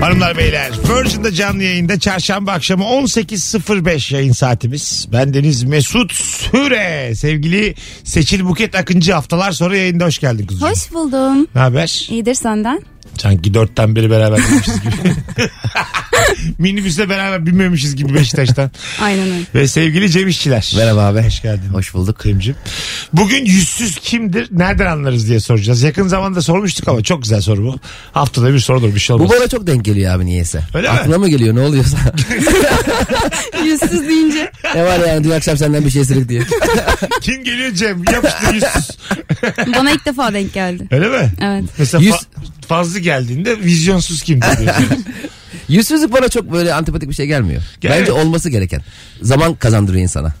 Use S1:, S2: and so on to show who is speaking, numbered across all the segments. S1: Hanımlar beyler Virgin'de canlı yayında çarşamba akşamı 18.05 yayın saatimiz. Ben Deniz Mesut Süre. Sevgili Seçil Buket Akıncı haftalar sonra yayında hoş geldin kuzucuğum.
S2: Hoş buldum.
S1: Ne haber?
S2: İyidir senden.
S1: Sanki dörtten beri beraber binmişiz gibi. Minibüsle beraber binmemişiz gibi Beşiktaş'tan.
S2: Aynen öyle.
S1: Ve sevgili Cem İşçiler.
S3: Merhaba abi.
S1: Hoş geldin.
S3: Hoş bulduk.
S1: Cem'ciğim. Bugün yüzsüz kimdir? Nereden anlarız diye soracağız. Yakın zamanda sormuştuk ama çok güzel soru bu. Haftada bir sorudur bir şey olmaz.
S3: Bu bana çok denk geliyor abi niyeyse.
S1: Öyle mi?
S3: Aklına mı geliyor ne oluyorsa.
S2: Yüzsüz deyince.
S3: ne var yani dün akşam senden bir şey ısırık diye.
S1: Kim geliyor Cem? Yapıştır yüzsüz.
S2: Bana ilk defa denk geldi.
S1: Öyle mi?
S2: Evet.
S1: Mesela
S3: Yüz-
S1: fa- fazla geldiğinde vizyonsuz kim diyorsun.
S3: Yüzsüzlük bana çok böyle antipatik bir şey gelmiyor.
S1: Gelmiyor.
S3: Bence olması gereken. Zaman kazandırıyor insana.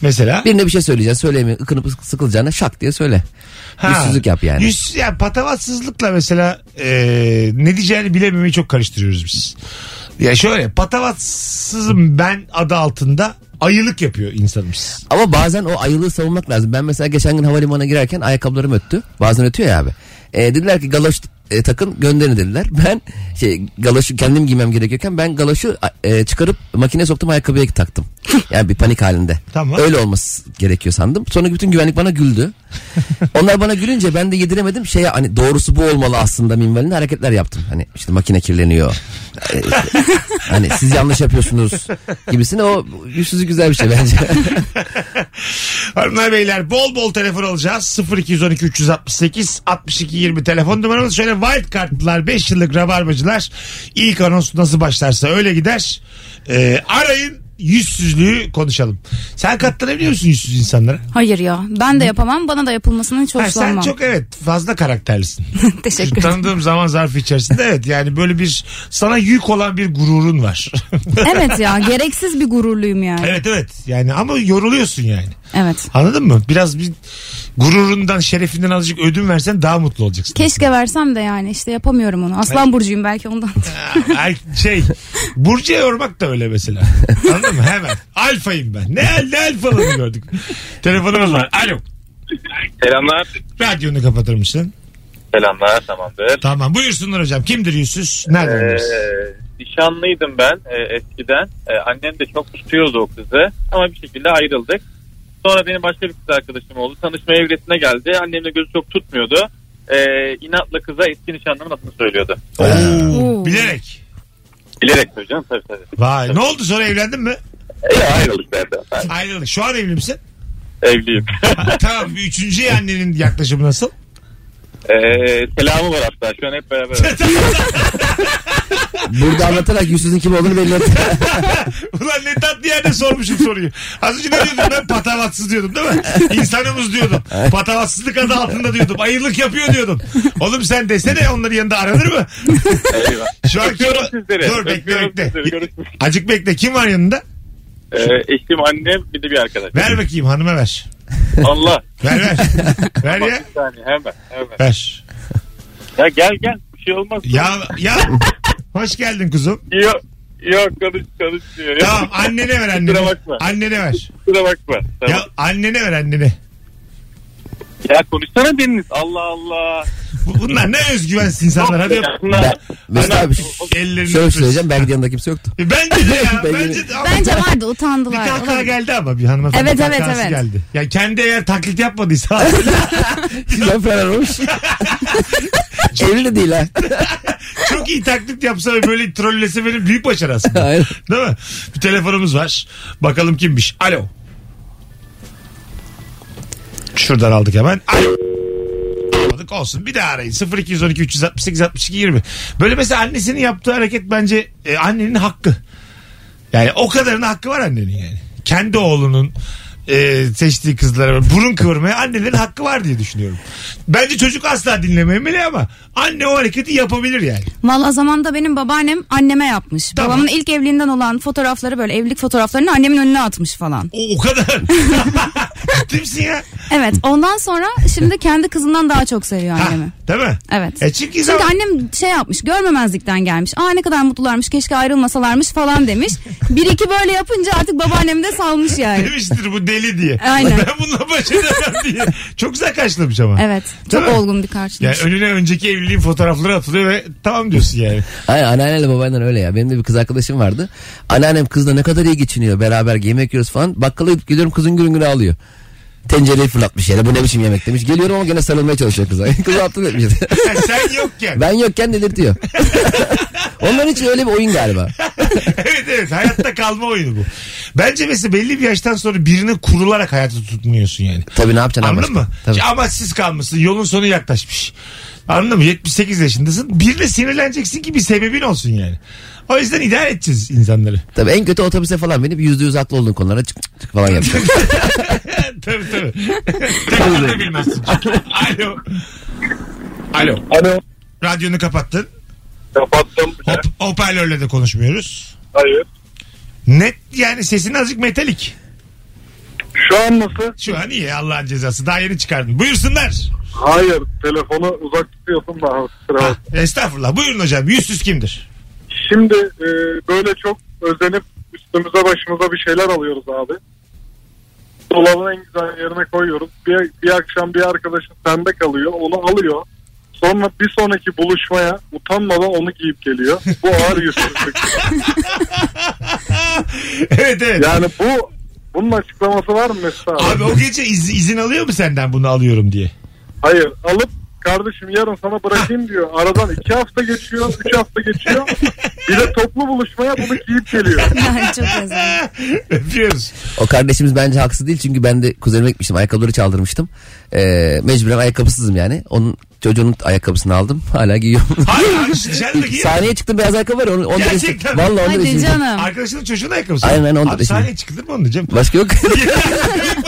S1: Mesela.
S3: Birine bir şey söyleyeceksin söyleyemiyor. Ikınıp sık- sıkılacağına şak diye söyle.
S1: Ha.
S3: Yüzsüzlük yap yani.
S1: Yüz, yani patavatsızlıkla mesela e, ne diyeceğini bilememeyi çok karıştırıyoruz biz. Ya şöyle patavatsızım ben adı altında ayılık yapıyor insanımız.
S3: Ama bazen o ayılığı savunmak lazım. Ben mesela geçen gün havalimanına girerken ayakkabılarım öttü. Bazen ötüyor ya abi. E, dediler ki galoş e, takın gönderin dediler. Ben şey galoşu kendim giymem gerekiyorken ben galoşu e, çıkarıp makineye soktum ayakkabıya taktım. Yani bir panik halinde.
S1: Tamam.
S3: Öyle olması gerekiyor sandım. Sonra bütün güvenlik bana güldü. Onlar bana gülünce ben de yediremedim. Şeye hani doğrusu bu olmalı aslında minvalinde hareketler yaptım. Hani işte makine kirleniyor. E, hani siz yanlış yapıyorsunuz gibisine o yüzsüzlük güzel bir şey bence.
S1: Hanımlar beyler bol bol telefon alacağız. 0212 368 62 20 telefon numaramız. Şöyle wild kartlılar 5 yıllık rabarbacılar ilk anons nasıl başlarsa öyle gider. E, arayın yüzsüzlüğü konuşalım. Sen katlanabiliyor musun yüzsüz insanlara?
S2: Hayır ya. Ben de yapamam. Bana da yapılmasını hiç
S1: Ha, sen
S2: hoşlanmam.
S1: çok evet fazla karakterlisin.
S2: Teşekkür ederim.
S1: Tanıdığım zaman zarfı içerisinde evet yani böyle bir sana yük olan bir gururun var.
S2: evet ya. Gereksiz bir gururluyum yani. Evet.
S1: evet evet yani ama yoruluyorsun yani. Anladın mı? Biraz bir gururundan şerefinden azıcık ödün versen daha mutlu olacaksın.
S2: Keşke versem de yani. işte yapamıyorum onu. Aslan burcuyum belki ondan.
S1: Er- şey Burcu'ya yormak da öyle mesela. Anladın mı? Hemen. Alfayım ben. Ne, ne alfalığını gördük. Telefonumuz var. Alo.
S4: Selamlar.
S1: Radyonu kapatır mısın?
S4: Selamlar tamamdır.
S1: Tamam buyursunlar hocam. Kimdir yüzsüz? Nereden
S4: Ee,
S1: bilirsin?
S4: nişanlıydım ben e, eskiden. E, annem de çok tutuyordu o kızı ama bir şekilde ayrıldık. Sonra benim başka bir kız arkadaşım oldu. Tanışma evresine geldi. Annem de gözü çok tutmuyordu. E, inatla kıza eski nişanlımın adını söylüyordu.
S1: Oo,
S2: Oo.
S1: bilerek.
S4: Bilerek söyleyeceğim tabii tabii.
S1: Vay. Ne oldu sonra evlendin mi?
S4: E, ayrıldık zaten. Ben
S1: Ayrıldık. Şu an evli misin?
S4: Evliyim.
S1: tamam. Üçüncü annenin yaklaşımı nasıl?
S4: e, selamı var hatta. Şu an hep beraber.
S3: Burada anlatarak yüzsüzün kim olduğunu belli et.
S1: Ulan ne tatlı yerde sormuşum soruyu. Az önce ne diyordum ben patavatsız diyordum değil mi? İnsanımız diyordum. Patavatsızlık adı altında diyordum. Ayılık yapıyor diyordum. Oğlum sen desene onların yanında aranır mı?
S4: Eyvah.
S1: Şu an kim
S4: Öpüyorum
S1: var?
S4: sizleri.
S1: Dur bekle
S4: Öpüyorum
S1: bekle.
S4: sizleri. Görüşürüz.
S1: Acık bekle. Kim var yanında?
S4: E, eşim annem bir de bir arkadaş.
S1: Ver bakayım hanıma ver.
S4: Allah.
S1: Ver ver. ver
S4: Bak,
S1: ya.
S4: bir saniye hemen hemen.
S1: Ver.
S4: Ya gel gel bir şey olmaz.
S1: Ya ya. Hoş geldin kuzum.
S4: Yok yok konuş konuş diyor.
S1: Tamam annene ver
S4: Kusura
S1: annene.
S4: bakma.
S1: Annene ver.
S4: Kusura bakma. Tamam.
S1: Ya annene ver annene.
S4: Ya, konuşsana Deniz. Allah Allah.
S1: Bu- Bunlar ne özgüvensiz insanlar. Hadi öp.
S3: Ben,
S4: Bunlar-
S3: Mesut
S4: Bunlar-
S3: abi
S1: Ellerini
S3: şöyle
S1: öpüyoruz.
S3: söyleyeceğim belki de yanında kimse yoktu.
S1: E, Bence de ya.
S3: Ben-
S1: bence de. Ama-
S2: Bence vardı.
S1: Bir
S2: Utandılar.
S1: kahkaha
S2: Olabilir.
S1: geldi ama bir hanımefendi
S2: Evet, evet,
S1: kahkahası
S2: evet.
S1: geldi. Ya kendi eğer taklit yapmadıysa
S3: Sizden falan olmuş. Evli de değil ha.
S1: çok iyi taklit yapsa ve böyle trollese benim büyük başarı aslında.
S3: Aynen.
S1: Değil mi? Bir telefonumuz var. Bakalım kimmiş. Alo. Şuradan aldık hemen. Alo. Almadık olsun. Bir daha arayın. 0212 368 62 20. Böyle mesela annesinin yaptığı hareket bence e, annenin hakkı. Yani o kadarına hakkı var annenin yani. Kendi oğlunun e, seçtiği kızlara böyle burun kıvırmaya annelerin hakkı var diye düşünüyorum. Bence çocuk asla dinlememeli ama anne o hareketi yapabilir yani.
S2: Valla zamanda benim babaannem anneme yapmış.
S1: Tamam.
S2: Babamın ilk evliliğinden olan fotoğrafları böyle evlilik fotoğraflarını annemin önüne atmış falan.
S1: O, o kadar. Kimsin ya?
S2: Evet ondan sonra şimdi kendi kızından daha çok seviyor
S1: Ha,
S2: annemi.
S1: değil mi?
S2: Evet.
S1: E çünkü
S2: Çünkü
S1: zaman-
S2: annem şey yapmış görmemezlikten gelmiş. Aa ne kadar mutlularmış keşke ayrılmasalarmış falan demiş. Bir iki böyle yapınca artık babaannem de salmış yani.
S1: demiştir bu deli diye.
S2: Aynen.
S1: Ben bununla baş edemem diye. Çok güzel karşılamış ama.
S2: Evet çok
S1: Değil mi?
S2: olgun bir
S1: Yani
S2: karşılamış.
S1: önüne önceki evliliğin fotoğrafları atılıyor ve tamam diyorsun yani.
S3: Aynen anneanneyle babaannem öyle ya. Benim de bir kız arkadaşım vardı. Anneannem kızla ne kadar iyi geçiniyor. Beraber yemek yiyoruz falan. Bakkala gidip geliyorum kızın gülün gülü ağlıyor. Tencereyi fırlatmış yere. Bu ne biçim yemek demiş. Geliyorum ama gene sarılmaya çalışıyor kıza. Kız aptal etmiş.
S1: Yani sen yokken.
S3: ben yokken delirtiyor. Onlar için öyle bir oyun galiba.
S1: evet evet hayatta kalma oyunu bu. Bence mesela belli bir yaştan sonra birine kurularak hayatta tutmuyorsun yani.
S3: Tabii ne yapacaksın
S1: Anladın
S3: ama
S1: mı?
S3: başka? Tabii.
S1: Amaçsız kalmışsın. Yolun sonu yaklaşmış. Anladın mı? 78 yaşındasın. Birine sinirleneceksin ki bir sebebin olsun yani. O yüzden idare edeceğiz insanları.
S3: Tabii en kötü otobüse falan binip yüzde yüz haklı olduğun konulara çık çık çık falan yapacak.
S1: tabii tabii. Tekrar da bilmezsin. Alo. Alo.
S5: Alo.
S1: Radyonu kapattın.
S5: Kapattım.
S1: Hop, hoparlörle de konuşmuyoruz.
S5: Hayır.
S1: Net yani sesin azıcık metalik.
S5: Şu an nasıl?
S1: Şu an iyi Allah'ın cezası. Daha yeni çıkardın. Buyursunlar.
S5: Hayır. Telefonu uzak tutuyorsun da. kusura bakma.
S1: Estağfurullah. Buyurun hocam. Yüzsüz kimdir?
S5: Şimdi e, böyle çok özenip üstümüze başımıza bir şeyler alıyoruz abi. Dolabın en güzel yerine koyuyoruz. Bir, bir akşam bir arkadaşın sende kalıyor. Onu alıyor. Sonra bir sonraki buluşmaya utanmadan onu giyip geliyor. Bu ağır yüzsüzlük.
S1: evet evet.
S5: Yani bu bunun açıklaması var mı Mesut abi?
S1: Abi o gece iz- izin alıyor mu senden bunu alıyorum diye?
S5: Hayır alıp kardeşim yarın sana bırakayım diyor. Aradan iki hafta geçiyor, üç hafta geçiyor. Bir de toplu buluşmaya bunu giyip geliyor.
S2: Yani çok özel.
S1: Öpüyoruz.
S3: o kardeşimiz bence haksız değil çünkü ben de kuzenime gitmiştim ayakkabıları çaldırmıştım. Ee, mecburen ayakkabısızım yani. Onun çocuğunun ayakkabısını aldım hala giyiyorum.
S1: Hayır abi şu dışarıdaki
S3: Sahneye çıktım beyaz ayakkabı var onu, onu
S1: Gerçekten mi?
S3: Valla onu
S2: Hadi canım.
S1: arkadaşının çocuğun ayakkabısı.
S3: Aynen, aynen, onu da
S1: Abi
S3: düşündüm.
S1: sahneye çıkılır mı onun diyeceğim.
S3: Başka yok.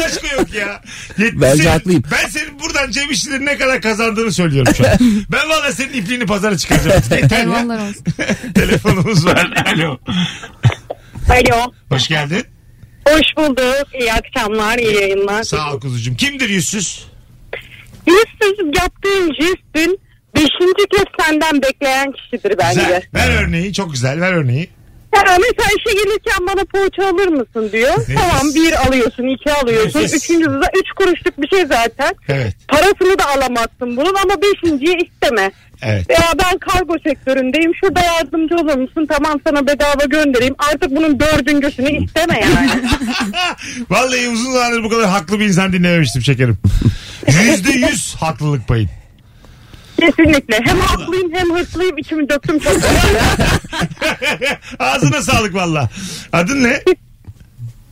S1: Başka yok ya. Yetmiş
S3: Bence
S1: senin-
S3: haklıyım.
S1: Ben senin buradan Cem İşçilerin ne kadar kazandığını söylüyorum şu an. ben valla senin ipliğini pazara çıkaracağım. Yeter ya.
S2: Eyvallah olsun.
S1: Telefonumuz var. Alo.
S6: Alo.
S1: Hoş geldin.
S6: Hoş bulduk. İyi akşamlar, iyi yayınlar.
S1: Sağ ol kuzucuğum. Kimdir yüzsüz?
S6: Yüzsüz yaptığın jestin beşinci kez senden bekleyen kişidir bence.
S1: Güzel. Ver örneği. Çok güzel. Ver örneği.
S6: Yani mesela işe gelirken bana poğaça alır mısın diyor.
S1: Nefis.
S6: Tamam bir alıyorsun, iki alıyorsun.
S1: Nefis.
S6: Üçüncüsü de üç kuruşluk bir şey zaten.
S1: Evet.
S6: Parasını da alamazsın bunun ama beşinciyi isteme.
S1: Evet.
S6: Veya ben kargo sektöründeyim şurada yardımcı olur musun? Tamam sana bedava göndereyim. Artık bunun dördüncüsünü isteme yani.
S1: Vallahi uzun zamandır bu kadar haklı bir insan dinlememiştim şekerim. Yüzde yüz haklılık payın.
S6: Kesinlikle. Hem haklıyım hem hırslıyım. İçimi döktüm çok güzel.
S1: Ağzına sağlık valla. Adın ne?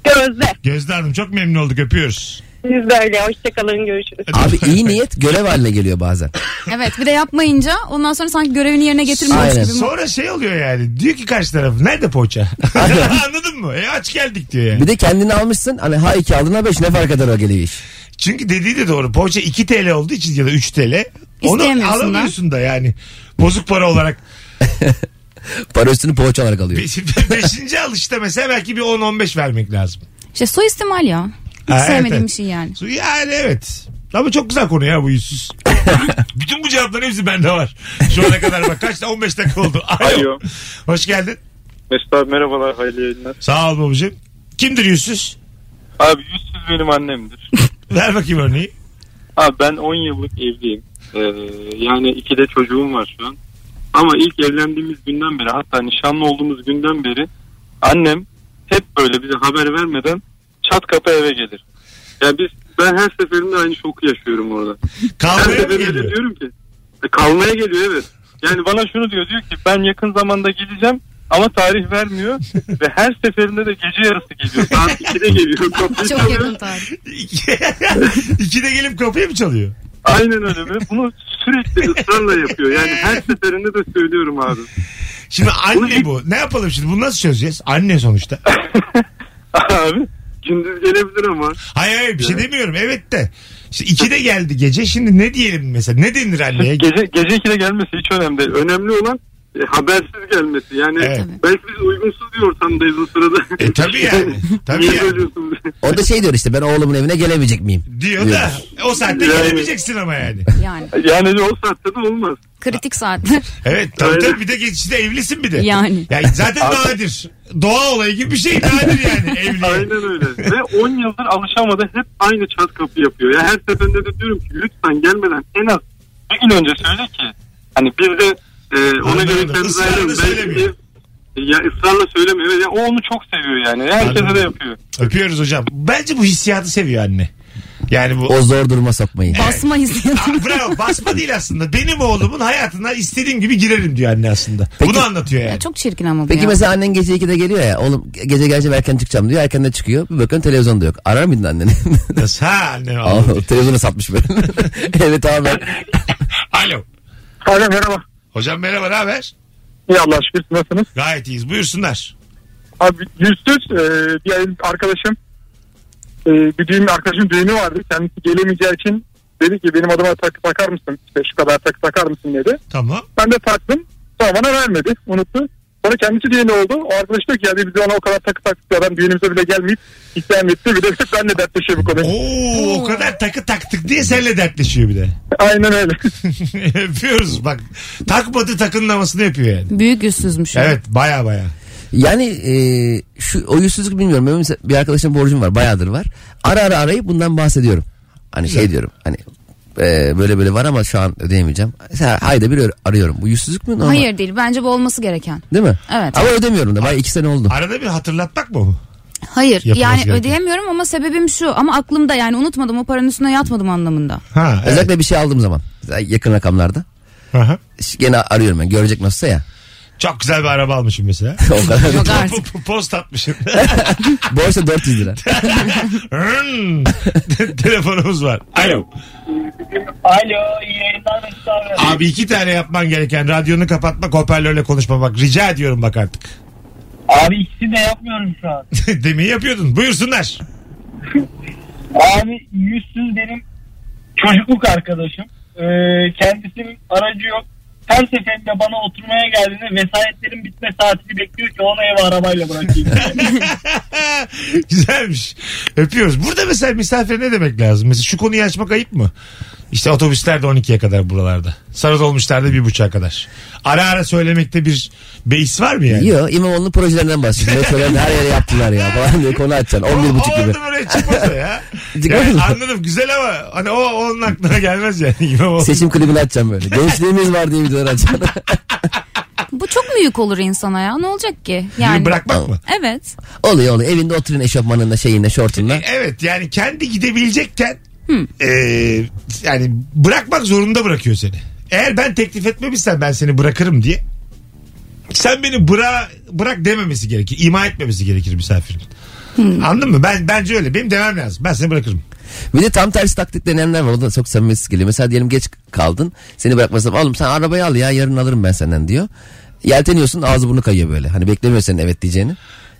S6: Gözde.
S1: Gözde Hanım çok memnun olduk öpüyoruz.
S6: Siz de öyle. Hoşçakalın. Görüşürüz.
S3: Abi iyi niyet görev haline geliyor bazen.
S2: Evet bir de yapmayınca ondan sonra sanki görevini yerine getirmiyormuş
S3: Aynen.
S2: gibi.
S1: Sonra şey oluyor yani diyor ki karşı taraf nerede poğaça? Anladın mı? E aç geldik diyor yani.
S3: Bir de kendini almışsın hani ha iki aldın ha beş ne fark eder o geliyor iş.
S1: Çünkü dediği de doğru. Poğaça 2 TL olduğu için ya da 3 TL. Onu
S2: İsteyemiyorsun
S1: alamıyorsun da yani. Bozuk para olarak.
S3: Para üstünü poğaça olarak alıyor.
S1: Beş, beşinci alışta mesela belki bir 10-15 vermek lazım.
S2: İşte suistimal ya. Hiç
S1: Ha, evet,
S2: sevmediğim
S1: evet.
S2: bir şey yani.
S1: Su- Yani evet. Ama çok güzel konu ya bu yüzsüz. Bütün bu cevapların hepsi bende var. Şu ana kadar bak kaç 15 dakika oldu. Alo.
S5: Alo.
S1: Hoş geldin.
S5: Mesut abi merhabalar hayırlı yayınlar.
S1: Sağ ol babacığım. Kimdir yüzsüz?
S5: Abi yüzsüz benim annemdir.
S1: Ver bakayım örneği.
S5: abi ben 10 yıllık evliyim. Ee, yani iki de çocuğum var şu an. Ama ilk evlendiğimiz günden beri hatta nişanlı olduğumuz günden beri annem hep böyle bize haber vermeden çat kapı eve gelir. Yani biz ben her seferinde aynı şoku yaşıyorum orada. Her
S1: Kalmaya mı
S5: seferinde de
S1: geliyor?
S5: diyorum ki e, kalmaya geliyor evet. Yani bana şunu diyor diyor ki ben yakın zamanda gideceğim ama tarih vermiyor ve her seferinde de gece yarısı geliyor. Saat 2'de geliyor. Kapıyı
S2: Çok
S5: çalıyor.
S2: yakın tarih.
S1: İkide gelip kapıyı mı çalıyor?
S5: Aynen öyle ve bunu sürekli ısrarla yapıyor. Yani her seferinde de söylüyorum abi.
S1: Şimdi
S5: Bunu
S1: anne
S5: ilk-
S1: bu. Ne yapalım şimdi? Bunu nasıl çözeceğiz? Anne sonuçta.
S5: abi gündüz gelebilir ama.
S1: Hayır hayır bir şey demiyorum. Evet de. İşte iki de geldi gece. Şimdi ne diyelim mesela? Ne denir anneye?
S5: Gece, gece 2'de gelmesi hiç önemli değil. Önemli olan e, habersiz gelmesi. Yani
S1: Evet.
S5: belki biz uygunsuz bir ortamdayız o sırada.
S1: E tabii yani. Tabii
S5: Niye
S1: yani.
S5: söylüyorsun?
S3: O da şey diyor işte ben oğlumun evine gelemeyecek miyim?
S1: Diyor da o saatte
S5: Yani-
S1: gelemeyeceksin ama yani.
S2: Yani
S5: Yani o saatte de olmaz.
S2: kritik saatler.
S1: Evet tabii
S5: Öyle.
S1: tabii bir de geçişte evlisin bir de.
S2: Yani.
S1: zaten nadir. Doğa olayı gibi bir şey nadir yani evli.
S5: Aynen öyle. Ve 10 yıldır alışamadı hep aynı çat kapı yapıyor. Ya her seferinde de diyorum ki lütfen gelmeden en az bir gün önce söyle ki hani biz de e, ona
S1: Anladım.
S5: göre kendimizi
S1: Israrla
S5: ayıralım. Belki
S1: söylemiyor.
S5: de- ya ısrarla söylemiyor. Evet, Ya, o onu çok seviyor yani. Herkese de
S1: Anladım.
S5: yapıyor.
S1: Öpüyoruz hocam. Bence bu hissiyatı seviyor anne. Yani bu
S3: O zor duruma sokmayı.
S2: Basma hissiyatı.
S1: Bravo basma değil aslında. Benim oğlumun hayatına istediğim gibi girerim diyor anne aslında. Bunu ankatıyor yani.
S2: Ya çok çirkin ama bu
S3: Peki
S2: ya.
S3: mesela annen gece 2'de geliyor ya oğlum gece geleceğim erken çıkacağım diyor erken de çıkıyor bir bakın televizyonda yok. Arar mıydın anneni?
S1: Nasıl? Ha anne
S3: Aa,
S1: oğlum.
S3: televizyonu satmış böyle. evet abi ben.
S1: Alo.
S5: Alo merhaba.
S1: Hocam merhaba ne haber?
S5: İyi Allah şükür nasılsınız?
S1: Gayet iyiyiz. Buyursunlar.
S5: Abi yüzsüz e, bir arkadaşım e, bir düğün arkadaşım düğünü vardı. Kendisi gelemeyeceği için dedi ki benim adıma takı takar mısın? İşte şu kadar takı takar mısın dedi.
S1: Tamam.
S5: Ben de taktım. Sonra bana vermedi. Unuttu. Sonra kendisi düğünü oldu. O arkadaş diyor ki ya biz ona o kadar takı taktık ya adam düğünümüze bile gelmeyip isyan etti. Bir de sırf benle dertleşiyor bu konuyu.
S1: Oo, o kadar takı taktık diye seninle dertleşiyor bir de.
S5: Aynen öyle.
S1: Yapıyoruz bak. Takmadı takınlamasını yapıyor yani.
S2: Büyük yüzsüzmüş.
S1: Evet baya baya.
S3: Yani e, şu o yüzsüzlük bilmiyorum. Benim mesela bir arkadaşım borcum var bayağıdır var. Ara ara arayıp bundan bahsediyorum. Hani şey diyorum hani e, böyle böyle var ama şu an ödeyemeyeceğim. Mesela Hayda bir arıyorum. Bu yüzsüzlük mü? Normal.
S2: Hayır değil bence bu olması gereken.
S3: Değil mi?
S2: Evet.
S3: Ama ödemiyorum da. Bayağı iki sene oldu.
S1: Arada bir hatırlatmak mı bu?
S2: Hayır
S1: Yapılması
S2: yani
S1: gereken.
S2: ödeyemiyorum ama sebebim şu ama aklımda yani unutmadım o paranın üstüne yatmadım anlamında.
S1: Ha, evet.
S3: Özellikle bir şey aldığım zaman. Mesela Yakın rakamlarda.
S1: Aha.
S3: Gene arıyorum ben. Görecek nasılsa ya.
S1: Çok güzel bir araba almışım mesela.
S3: o kadar.
S2: Yok
S1: Po-
S2: artık.
S1: po- Post atmışım.
S3: Borsa 400 lira.
S1: Hmm. Telefonumuz var. Alo.
S7: Alo iyi yayınlar Mesut abi.
S1: Abi iki tane yapman gereken radyonu kapatmak hoparlörle konuşma bak. Rica ediyorum bak artık.
S7: Abi ikisini de yapmıyorum şu an.
S1: Demin yapıyordun. Buyursunlar.
S7: Abi yüzsüz benim çocukluk arkadaşım. Ee, kendisinin aracı yok. Her seferinde bana oturmaya geldiğinde vesayetlerin bitme saatini bekliyor ki onu eve arabayla bırakayım.
S1: Güzelmiş. Öpüyoruz. Burada mesela misafir ne demek lazım? Mesela şu konuyu açmak ayıp mı? İşte otobüsler de 12'ye kadar buralarda. Sarı dolmuşlar da 1.30'a kadar. Ara ara söylemekte bir beis var mı yani?
S3: Yok İmamoğlu'nun projelerinden bahsediyor. Metrolarını her yere yaptılar ya falan diye konu açacaksın.
S1: O-
S3: 11
S1: o
S3: buçuk gibi.
S1: orada böyle çıkmaz o ya.
S3: Çıkmaz
S1: Yani
S3: mı?
S1: anladım güzel ama hani o onun aklına gelmez yani. İmamoğlu.
S3: Seçim klibini açacağım böyle. Gençliğimiz var diye videoları açacağım.
S2: Bu çok mu yük olur insana ya ne olacak ki? Yani
S1: Yani bırakmak mı?
S2: Evet.
S3: oluyor oluyor. Evinde oturun eşofmanınla şeyinle şortunla.
S1: E, Evet yani kendi gidebilecekken e, yani bırakmak zorunda bırakıyor seni. Eğer ben teklif etmemişsem ben seni bırakırım diye sen beni bıra, bırak dememesi gerekir. ima etmemesi gerekir misafirin. Anladın mı? Ben bence öyle. Benim demem lazım. Ben seni bırakırım.
S3: Bir de tam tersi taklit deneyenler var. O da çok samimiyetsiz geliyor. Mesela diyelim geç kaldın. Seni bırakmasam oğlum sen arabayı al ya yarın alırım ben senden diyor. Yelteniyorsun ağzı burnu kayıyor böyle. Hani beklemiyor senin evet diyeceğini.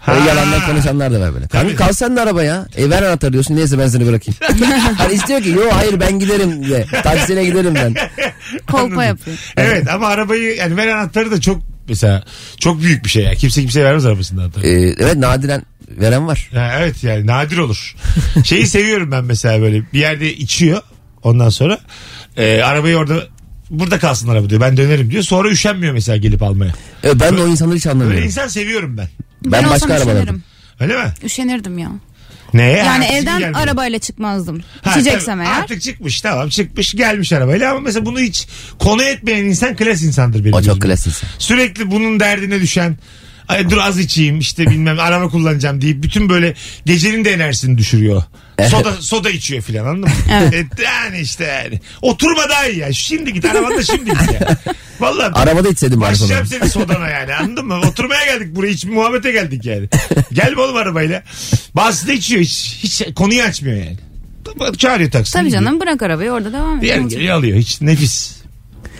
S3: Böyle
S1: Ha.
S3: yalandan konuşanlar da var böyle.
S1: Tabii.
S3: Kanka kal sen de arabaya. E ver anahtarı diyorsun. Neyse ben seni bırakayım. E, hani istiyor ki yo hayır ben giderim diye. Taksine giderim ben.
S2: Kolpa yapıyor.
S1: Evet ama arabayı yani ver anahtarı da çok mesela çok büyük bir şey ya. Kimse kimseye vermez arabasını anahtarı.
S3: Ee, evet nadiren veren var.
S1: Ha, evet yani nadir olur. Şeyi seviyorum ben mesela böyle bir yerde içiyor ondan sonra e, arabayı orada burada kalsın araba diyor ben dönerim diyor. Sonra üşenmiyor mesela gelip almaya.
S3: Ee, ben de o insanları hiç
S1: Böyle
S3: anlamıyorum.
S1: insan seviyorum ben.
S3: Ben,
S2: Ben, olsam
S3: başka arabalardım.
S2: üşenirim.
S1: Öyle mi?
S2: Üşenirdim ya.
S1: Neye?
S2: Yani
S1: Ha, bizim
S2: evden
S1: E, şey gelmiyor.
S2: arabayla çıkmazdım.
S1: Ha,
S2: İçeceksem
S1: tabii.
S2: eğer.
S1: Artık çıkmış tamam çıkmış gelmiş arabayla ama mesela bunu hiç konu etmeyen insan klas insandır benim.
S3: O çok
S1: gözümde.
S3: klas insan.
S1: Sürekli bunun derdine düşen Ay dur az içeyim işte bilmem araba kullanacağım deyip bütün böyle gecenin de enerjisini düşürüyor. Soda soda içiyor filan anladın mı? E, yani işte yani. Oturma daha iyi ya. Şimdi git arabanda şimdi git ya. Vallahi
S3: Arabada içseydim bari sonra.
S1: Başlayacağım seni sodana yani anladın mı? Oturmaya geldik buraya hiç muhabbete geldik yani. Gelme oğlum arabayla. Bazısı da içiyor hiç, hiç konuyu açmıyor yani. Çağırıyor taksi.
S2: Tabii
S1: gidiyor.
S2: canım bırak arabayı orada devam
S1: Diğer
S2: et.
S1: geliyor alıyor hiç nefis.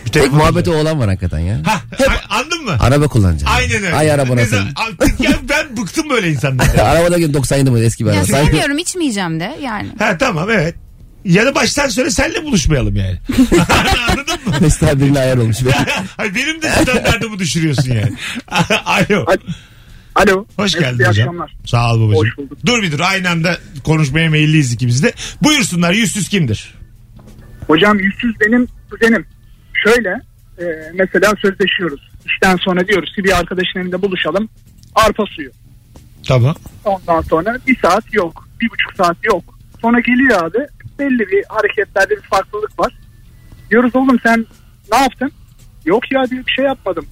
S1: Bir İşte
S3: Tek muhabbeti oğlan var hakikaten ya.
S1: Ha, a- anladın mı?
S3: Araba kullanacaksın.
S1: Aynen öyle.
S3: Ay arabana
S1: Ne
S3: sen.
S1: zaman- Artık ya ben bıktım böyle insanlardan.
S3: Arabada gün 97 model eski bir
S2: Ya
S3: araba. Sanki
S2: sevmiyorum içmeyeceğim de yani.
S1: ha tamam evet. Ya da baştan söyle senle buluşmayalım yani. Anladın mı?
S3: mesela birine ayar olmuş.
S1: Hayır, benim de standartımı düşürüyorsun yani. Alo.
S8: Alo.
S1: Hoş
S8: Evet,
S1: geldin
S8: iyi
S1: hocam.
S8: akşamlar.
S1: Sağ ol babacığım.
S8: Hoş bulduk.
S1: Dur bir dur aynı anda konuşmaya meyilliyiz ikimiz de. Buyursunlar yüzsüz kimdir?
S8: Hocam yüzsüz benim kuzenim. Şöyle e, mesela sözleşiyoruz. İşten sonra diyoruz ki bir arkadaşın evinde buluşalım. Arpa suyu.
S1: Tamam.
S8: Ondan sonra bir saat yok. Bir buçuk saat yok. Sonra geliyor abi. Belli bir hareketlerde bir farklılık var. Diyoruz oğlum sen ne yaptın? Yok ya diyor bir şey yapmadım.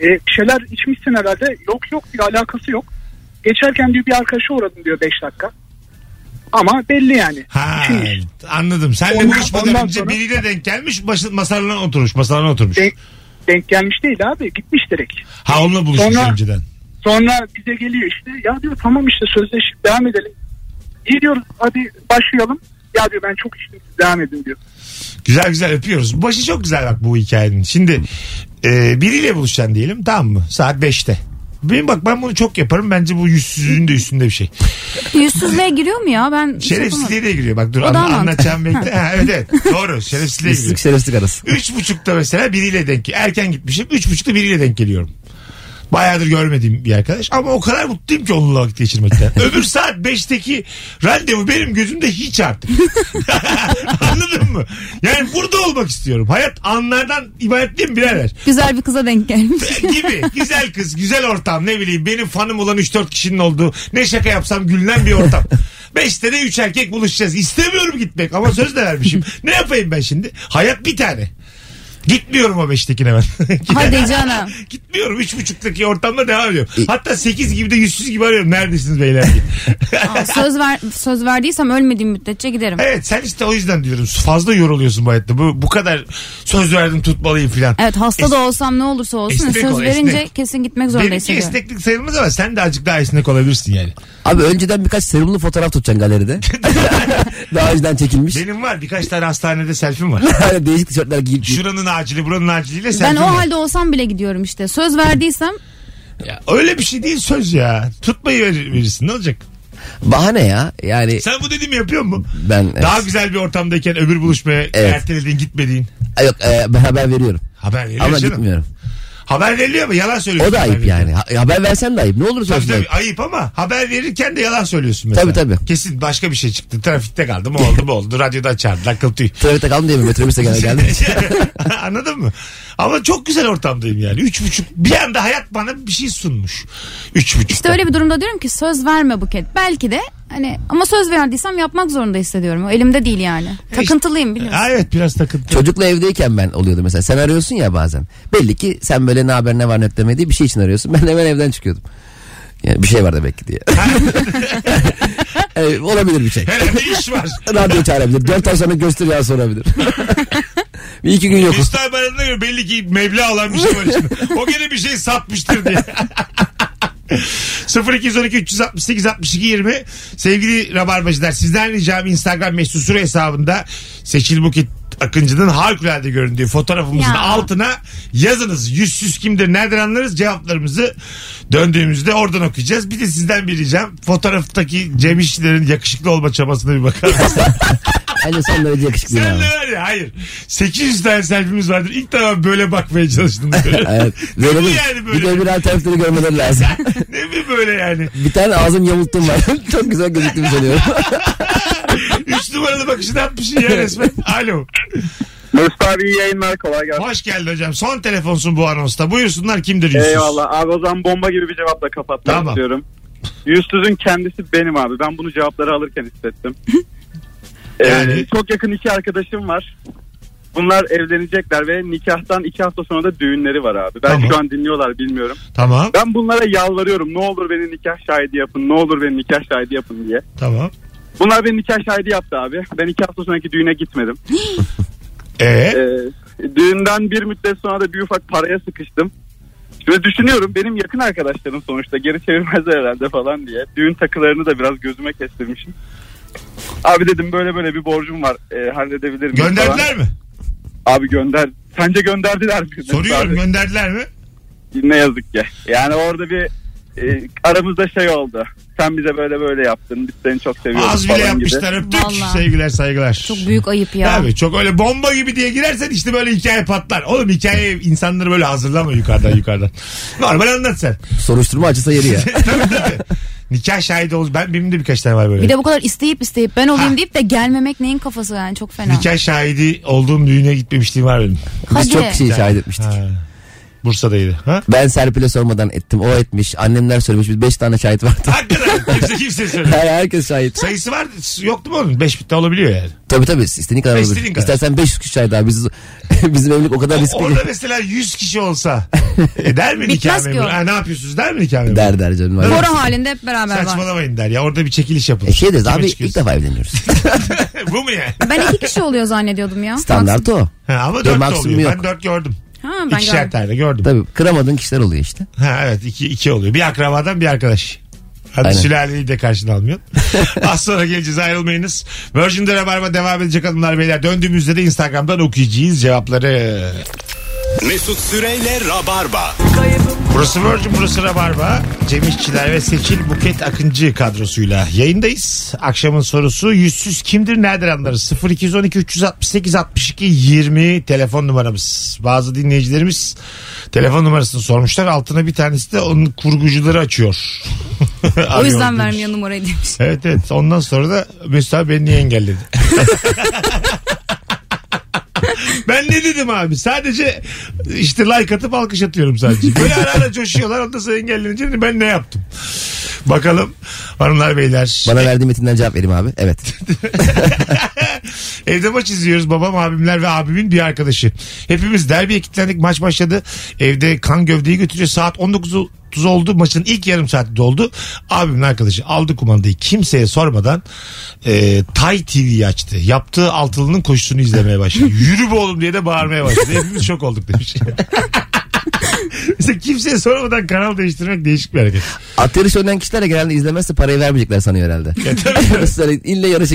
S8: E, bir şeyler içmişsin herhalde. Yok yok diyor alakası yok. Geçerken diyor bir arkadaşa uğradım diyor 5 dakika. Ama belli yani.
S1: Ha
S8: Şimdi
S1: anladım. Senle
S8: Ondan-
S1: buluşmadan
S8: ondan
S1: önce
S8: sonra-
S1: biriyle denk gelmiş başı, masalarına oturmuş. Masalarına oturmuş.
S8: denk, denk gelmiş değil abi gitmiş direkt.
S1: Ha onunla buluşmuş
S8: Sonra-
S1: önceden.
S8: Sonra bize geliyor işte ya diyor tamam işte sözleşip devam edelim. İyi diyoruz hadi başlayalım. Ya diyor ben çok içtim siz devam edin diyor.
S1: Güzel güzel öpüyoruz. Başı çok güzel bak bu hikayenin. Şimdi e, biriyle buluşacaksın diyelim tamam mı? Saat 5'te. Benim bak ben bunu çok yaparım. Bence bu yüzsüzlüğün de üstünde bir şey.
S2: Yüzsüzlüğe giriyor mu ya ben? hiç yapamadım.
S1: Şerefsizliğe de giriyor. Bak dur
S2: O da
S1: anla,
S2: mantıklı.
S1: anlatacağım bekle. Ha, evet evet doğru şerefsizliğe giriyor.
S3: Pislik şerefsizlik arası.
S1: Üç buçukta mesela biriyle denk Erken gitmişim. Üç buçukta biriyle denk geliyorum. Bayağıdır görmediğim bir arkadaş. Ama o kadar mutluyum ki onunla vakit geçirmekten. Öbür saat 5'teki randevu benim gözümde hiç artık. Anladın mı? Yani burada olmak istiyorum. Hayat anlardan ibaret değil mi birader?
S2: Güzel bir kıza denk gelmiş.
S1: Gibi. Güzel kız, güzel ortam. Ne bileyim benim fanım olan 3-4 kişinin olduğu. Ne şaka yapsam gülünen bir ortam. 5'te de 3 erkek buluşacağız. İstemiyorum gitmek ama söz de vermişim. ne yapayım ben şimdi? Hayat bir tane. Gitmiyorum o beştekine ben.
S2: Hadi canım. E-
S1: Gitmiyorum. Üç buçuktaki ortamda devam ediyorum. Hatta sekiz gibi de yüzsüz gibi arıyorum. Neredesiniz beyler diye.
S2: Aa, söz ver söz verdiysem ölmediğim müddetçe giderim.
S1: evet sen işte o yüzden diyorum. Fazla yoruluyorsun bu hayatta. Bu, bu kadar söz verdim tutmalıyım filan.
S2: Evet hasta
S1: Es-
S2: da olsam ne olursa olsun
S1: esnek
S2: söz
S1: ol,
S2: verince
S1: esnek.
S2: kesin gitmek zorunda
S1: Benimki
S2: hissediyorum.
S1: esneklik sayılmaz ama sen de azıcık daha esnek olabilirsin yani.
S3: Abi önceden birkaç serumlu fotoğraf tutacaksın galeride. Daha önceden çekilmiş.
S1: Benim var birkaç tane hastanede selfim var.
S3: Böyle Değişik tişörtler giyip.
S1: Şuranın acili buranın aciliyle
S2: Ben
S1: selfim
S2: o
S1: var.
S2: halde olsam bile gidiyorum işte. Söz verdiysem
S1: Öyle bir şey değil söz ya. Tutmayı ver- verirsin ne olacak?
S3: Bahane ya. Yani
S1: Sen bu dediğimi yapıyor musun?
S3: ben e, evet.
S1: Daha güzel bir ortamdayken öbür buluşmaya
S3: Evet.
S1: ertelediğin gitmediğin.
S3: yok e, ben haber veriyorum.
S1: Haber veriyor
S3: Ama
S1: canım.
S3: gitmiyorum.
S1: Haber veriliyor mu? Yalan söylüyorsun.
S3: O da
S1: haber
S3: ayıp
S1: verirken.
S3: yani. Ha- haber versen de ayıp. Ne olur
S1: Tabii
S3: sözde
S1: tabii
S3: ayıp.
S1: ayıp ama haber verirken de yalan söylüyorsun mesela.
S3: Tabii, tabii.
S1: Kesin başka bir şey çıktı. Trafikte kaldım o oldu bu oldu. Radyoda çağırdılar kıl tüy.
S3: Trafikte kaldım diye mi? Metrobüste gene geldim.
S1: Anladın mı? Ama çok güzel ortamdayım yani. Üç buçuk bir anda hayat bana bir şey sunmuş. Üç buçuk.
S2: işte öyle bir durumda diyorum ki söz verme Buket. Belki de hani ama söz verdiysem yapmak zorunda hissediyorum. O elimde değil yani.
S1: E,
S2: Takıntılıyım biliyorsun.
S1: Ha, evet biraz takıntı.
S3: Çocukla evdeyken ben oluyordu mesela. Sen arıyorsun ya bazen. Belli ki sen böyle ne haber ne var ne ötleme diye bir şey için arıyorsun. Ben hemen evden çıkıyordum. Yani bir şey var demek ki diye. Evet, olabilir bir şey.
S1: Herhalde iş var.
S3: Radyo çağırabilir. Dört ay sonra göster ya sorabilir. bir iki gün yokuz.
S1: Üstay Baran'ına göre belli ki meblağ olan bir şey var içinde. O gene bir şey satmıştır diye. 0212 368 62 20 sevgili rabarbacılar sizden ricam Instagram mesut süre hesabında Seçil Bukit Akıncı'nın harikulade göründüğü fotoğrafımızın
S2: Ya.
S1: altına yazınız. Yüzsüz kimdir nereden anlarız cevaplarımızı döndüğümüzde oradan okuyacağız. Bir de sizden bir ricam fotoğraftaki Cem İşçilerin yakışıklı olma çabasına bir bakar mısınız?
S3: Bence son derece yakışıklı.
S1: Sen
S3: yani.
S1: ne var ya? Hayır. 800 tane selfie'miz vardır. İlk defa böyle bakmaya çalıştım. Böyle.
S3: Evet. Böyle
S1: Ne
S3: bir,
S1: yani böyle?
S3: bir de bir alternatifleri görmeleri lazım.
S1: ne mi böyle yani?
S3: bir tane ağzım yamulttum var. Çok güzel gözüktüğümü sanıyorum.
S1: 3 numaralı bakışını atmışsın ya resmen. Alo.
S8: Mesut abi iyi yayınlar kolay gelsin.
S1: Hoş geldin hocam. Son telefonsun bu anonsta. Buyursunlar kimdir yüzsüz?
S5: Eyvallah abi o zaman bomba gibi bir cevapla kapatmak
S1: Tamam.
S5: istiyorum. Yüzsüzün kendisi benim abi. Ben bunu cevapları alırken hissettim. Ee,
S1: Yani?
S5: çok yakın iki arkadaşım var. Bunlar evlenecekler ve nikahtan iki hafta sonra da düğünleri var abi. Ben
S1: Tamam.
S5: şu an dinliyorlar bilmiyorum.
S1: Tamam.
S5: Ben bunlara yalvarıyorum ne olur beni nikah şahidi yapın ne olur beni nikah şahidi yapın diye.
S1: Tamam.
S5: Bunlar beni nikah şahidi yaptı abi. Ben iki hafta sonraki düğüne gitmedim.
S1: Ee,
S5: Ee, düğünden bir müddet sonra da bir ufak paraya sıkıştım. Şimdi düşünüyorum benim yakın arkadaşlarım sonuçta geri çevirmezler herhalde falan diye. Düğün takılarını da biraz gözüme kestirmişim. Abi dedim böyle böyle bir borcum var e, halledebilir miyim falan.
S1: gönderdiler mi?
S5: Abi gönder
S8: Sence gönderdiler mi?
S1: Soruyorum gönderdiler mi?
S8: Ne yazık ki. Yani orada bir e, aramızda şey oldu. Sen bize böyle böyle yaptın. Biz seni çok seviyoruz
S1: Az bile
S8: falan
S1: yapmışlar
S8: gibi.
S1: öptük.
S2: Vallahi.
S1: Sevgiler saygılar.
S2: Çok büyük ayıp ya.
S1: Abi çok öyle bomba gibi diye girersen işte böyle hikaye patlar. Oğlum hikaye insanları böyle hazırlama yukarıdan yukarıdan. Normal anlat sen.
S3: Soruşturma açısı yeri ya.
S1: tabii tabii. Nikah şahidi ol. Ben benim de birkaç tane var böyle.
S2: Bir de bu kadar isteyip isteyip ben olayım
S1: Ha.
S2: deyip de gelmemek neyin kafası yani çok fena.
S1: Nikah şahidi olduğum düğüne gitmemişliğim var benim.
S2: Hadi.
S3: Biz çok şey şahit etmiştik.
S1: Ha. Bursa'daydı. Ha?
S3: Ben Serpil'e sormadan ettim. O etmiş. Annemler söylemiş. Biz 5 tane şahit vardı.
S1: Hakikaten kimse kimse söylemiyor.
S3: Her, herkes şahit.
S1: E, Sayısı var yoktu mu onun? Beş bitti olabiliyor yani.
S3: Tabii tabii. İstediğin kadar olur.
S1: İstediğin kadar.
S3: İstersen 500 kişi şahit abi. Biz, bizim evlilik o kadar riskli. ki.
S1: Orada mesela 100 kişi olsa e, der mi nikah
S2: Bitmez ki
S1: memuru?
S2: o.
S1: Ha, ne yapıyorsunuz der mi nikah memuru?
S3: Der der canım.
S1: Değil mi?
S2: Koro halinde hep beraber var.
S1: Saçmalamayın der ya orada bir çekiliş yapılır.
S3: E şey deriz
S1: Kime
S3: abi ilk
S1: çıkıyorsun?
S3: defa evleniyoruz.
S1: Bu mu yani?
S2: Ben iki kişi oluyor zannediyordum ya.
S3: Standart o.
S1: Ha, ama
S3: Yok,
S1: dört de
S3: maksimum
S1: oluyor. Ben
S3: yok.
S1: dört gördüm.
S2: Ha, ben
S1: İkişer
S2: gördüm.
S1: tane gördüm.
S3: Tabii kıramadığın kişiler oluyor işte.
S1: Ha, evet iki, iki oluyor. Bir akrabadan bir arkadaş. Hadi
S3: Aynen.
S1: sülaleyi de karşına almıyorsun. Az sonra geleceğiz ayrılmayınız. Virgin'de Rabarba devam edecek hanımlar beyler. Döndüğümüzde de Instagram'dan okuyacağız cevapları. Şey-
S9: Mesut Süreyle Rabarba.
S1: Burası Virgin, burası Rabarba. Cem İşçiler ve Seçil Buket Akıncı kadrosuyla yayındayız. Akşamın sorusu yüzsüz kimdir nereden anlarız? 0212 368 62 20 telefon numaramız. Bazı dinleyicilerimiz telefon numarasını sormuşlar. Altına bir tanesi de onun kurgucuları açıyor.
S2: O
S1: Arıyor
S2: yüzden
S1: demiş.
S2: vermiyor numarayı demiş.
S1: Evet evet ondan sonra da Mesut abi beni niye engelledi? ben ne dedim abi sadece işte like atıp alkış atıyorum sadece. Böyle ara ara coşuyorlar ondan sonra engellenince ben ne yaptım? Bakalım hanımlar beyler.
S3: Bana verdiğin metinden cevap vereyim abi. Evet.
S1: Evde maç izliyoruz babam abimler ve abimin bir arkadaşı. Hepimiz derbiye kilitlendik maç başladı. Evde kan gövdeyi götürüyor saat 19.30 oldu maçın ilk yarım saati doldu. Abimin arkadaşı aldı kumandayı kimseye sormadan e, Tay TV'yi açtı. Yaptığı altılının koşusunu izlemeye başladı. Yürü be oğlum diye de bağırmaya başladı. Hepimiz şok olduk demiş. Mesela kimseye sormadan kanal değiştirmek değişik bir hareket.
S3: At yarışı oynayan kişiler de genelde izlemezse parayı vermeyecekler sanıyor herhalde. Mesela İlle yarışı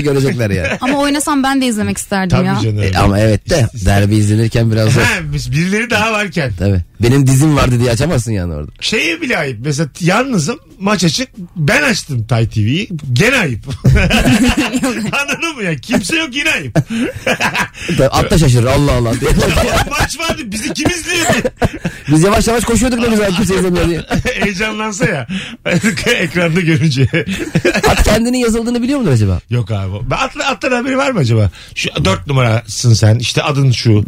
S3: görecekler yani.
S2: Ama oynasam ben de izlemek isterdim
S1: Tabii
S2: ya.
S1: canım.
S3: E, ama evet de derbi izlenirken biraz zor.
S1: Ha, biz- birileri daha varken.
S3: Tabii. Benim dizim vardı diye açamazsın yani orada.
S1: Şeye bile ayıp. Mesela yalnızım maç açık. Ben açtım Tay TV'yi. Gene ayıp. Anladın mı ya? Kimse yok yine ayıp.
S3: Tabii At da şaşırır Allah Allah diye.
S1: maç vardı. Biz ikimiz diye.
S3: Biz yavaş yavaş koşuyorduk da biz abi kimse izlemiyor diye.
S1: Heyecanlansa ya. Ekranda görünce.
S3: At kendinin yazıldığını biliyor mudur acaba?
S1: yok abi. Ben Atla, attan haberi var mı acaba? Şu dört numarasın sen. İşte adın şu.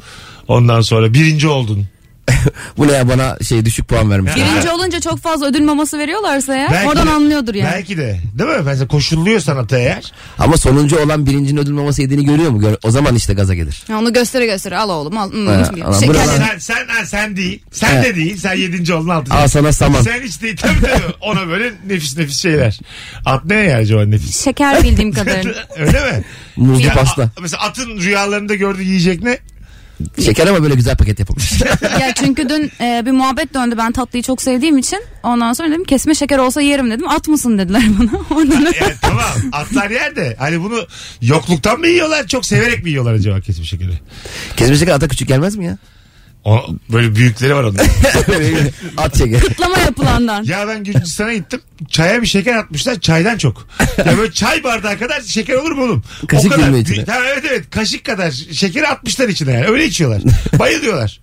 S1: Ondan sonra birinci oldun.
S3: Bu ne ya bana şey düşük puan vermiş.
S2: Birinci olunca çok fazla ödül maması veriyorlarsa eğer
S1: Belki
S2: oradan
S1: de-
S2: anlıyordur yani.
S1: Belki de. Değil mi? Mesela koşulluyor sanata eğer.
S3: Ama sonuncu olan birincinin ödül maması yediğini görüyor mu? Gör- o zaman işte gaza gelir.
S2: Ya onu göstere göstere al oğlum al. Hmm,
S3: Ha,
S2: bir
S3: aman,
S2: şeker-
S3: buradan-
S1: Sen, sen, ha, sen değil. Sen de değil. Sen yedinci oldun altıncı.
S3: Al sana saman.
S1: Sen hiç değil tabii tabii. Ona böyle nefis nefis şeyler. At ne ya acaba nefis?
S2: Şeker bildiğim kadarıyla.
S1: Öyle mi?
S3: Muzlu
S1: Ya,
S3: pasta.
S1: a- mesela atın rüyalarında gördüğü yiyecek ne?
S3: Şeker ama böyle güzel paket yapılmış.
S2: ya çünkü dün e, bir muhabbet döndü ben tatlıyı çok sevdiğim için. Ondan sonra dedim kesme şeker olsa yerim dedim. At mısın dediler bana. Oradan
S1: Yani tamam atlar yer de hani bunu yokluktan mı yiyorlar çok severek mi yiyorlar acaba kesmiş şekeri?
S3: Kesme şeker ata küçük gelmez mi ya?
S1: O, böyle büyükleri var onların.
S3: At şeker.
S2: atlama yapılandan.
S1: ya ben Gürcistan'a gittim çaya bir şeker atmışlar çaydan çok. Ya böyle çay bardağı kadar şeker olur mu oğlum?
S3: Kaşık
S1: o kadar.
S3: girmiyor içine.
S1: Ha, evet evet kaşık kadar şekeri atmışlar içine yani öyle içiyorlar. Bayılıyorlar.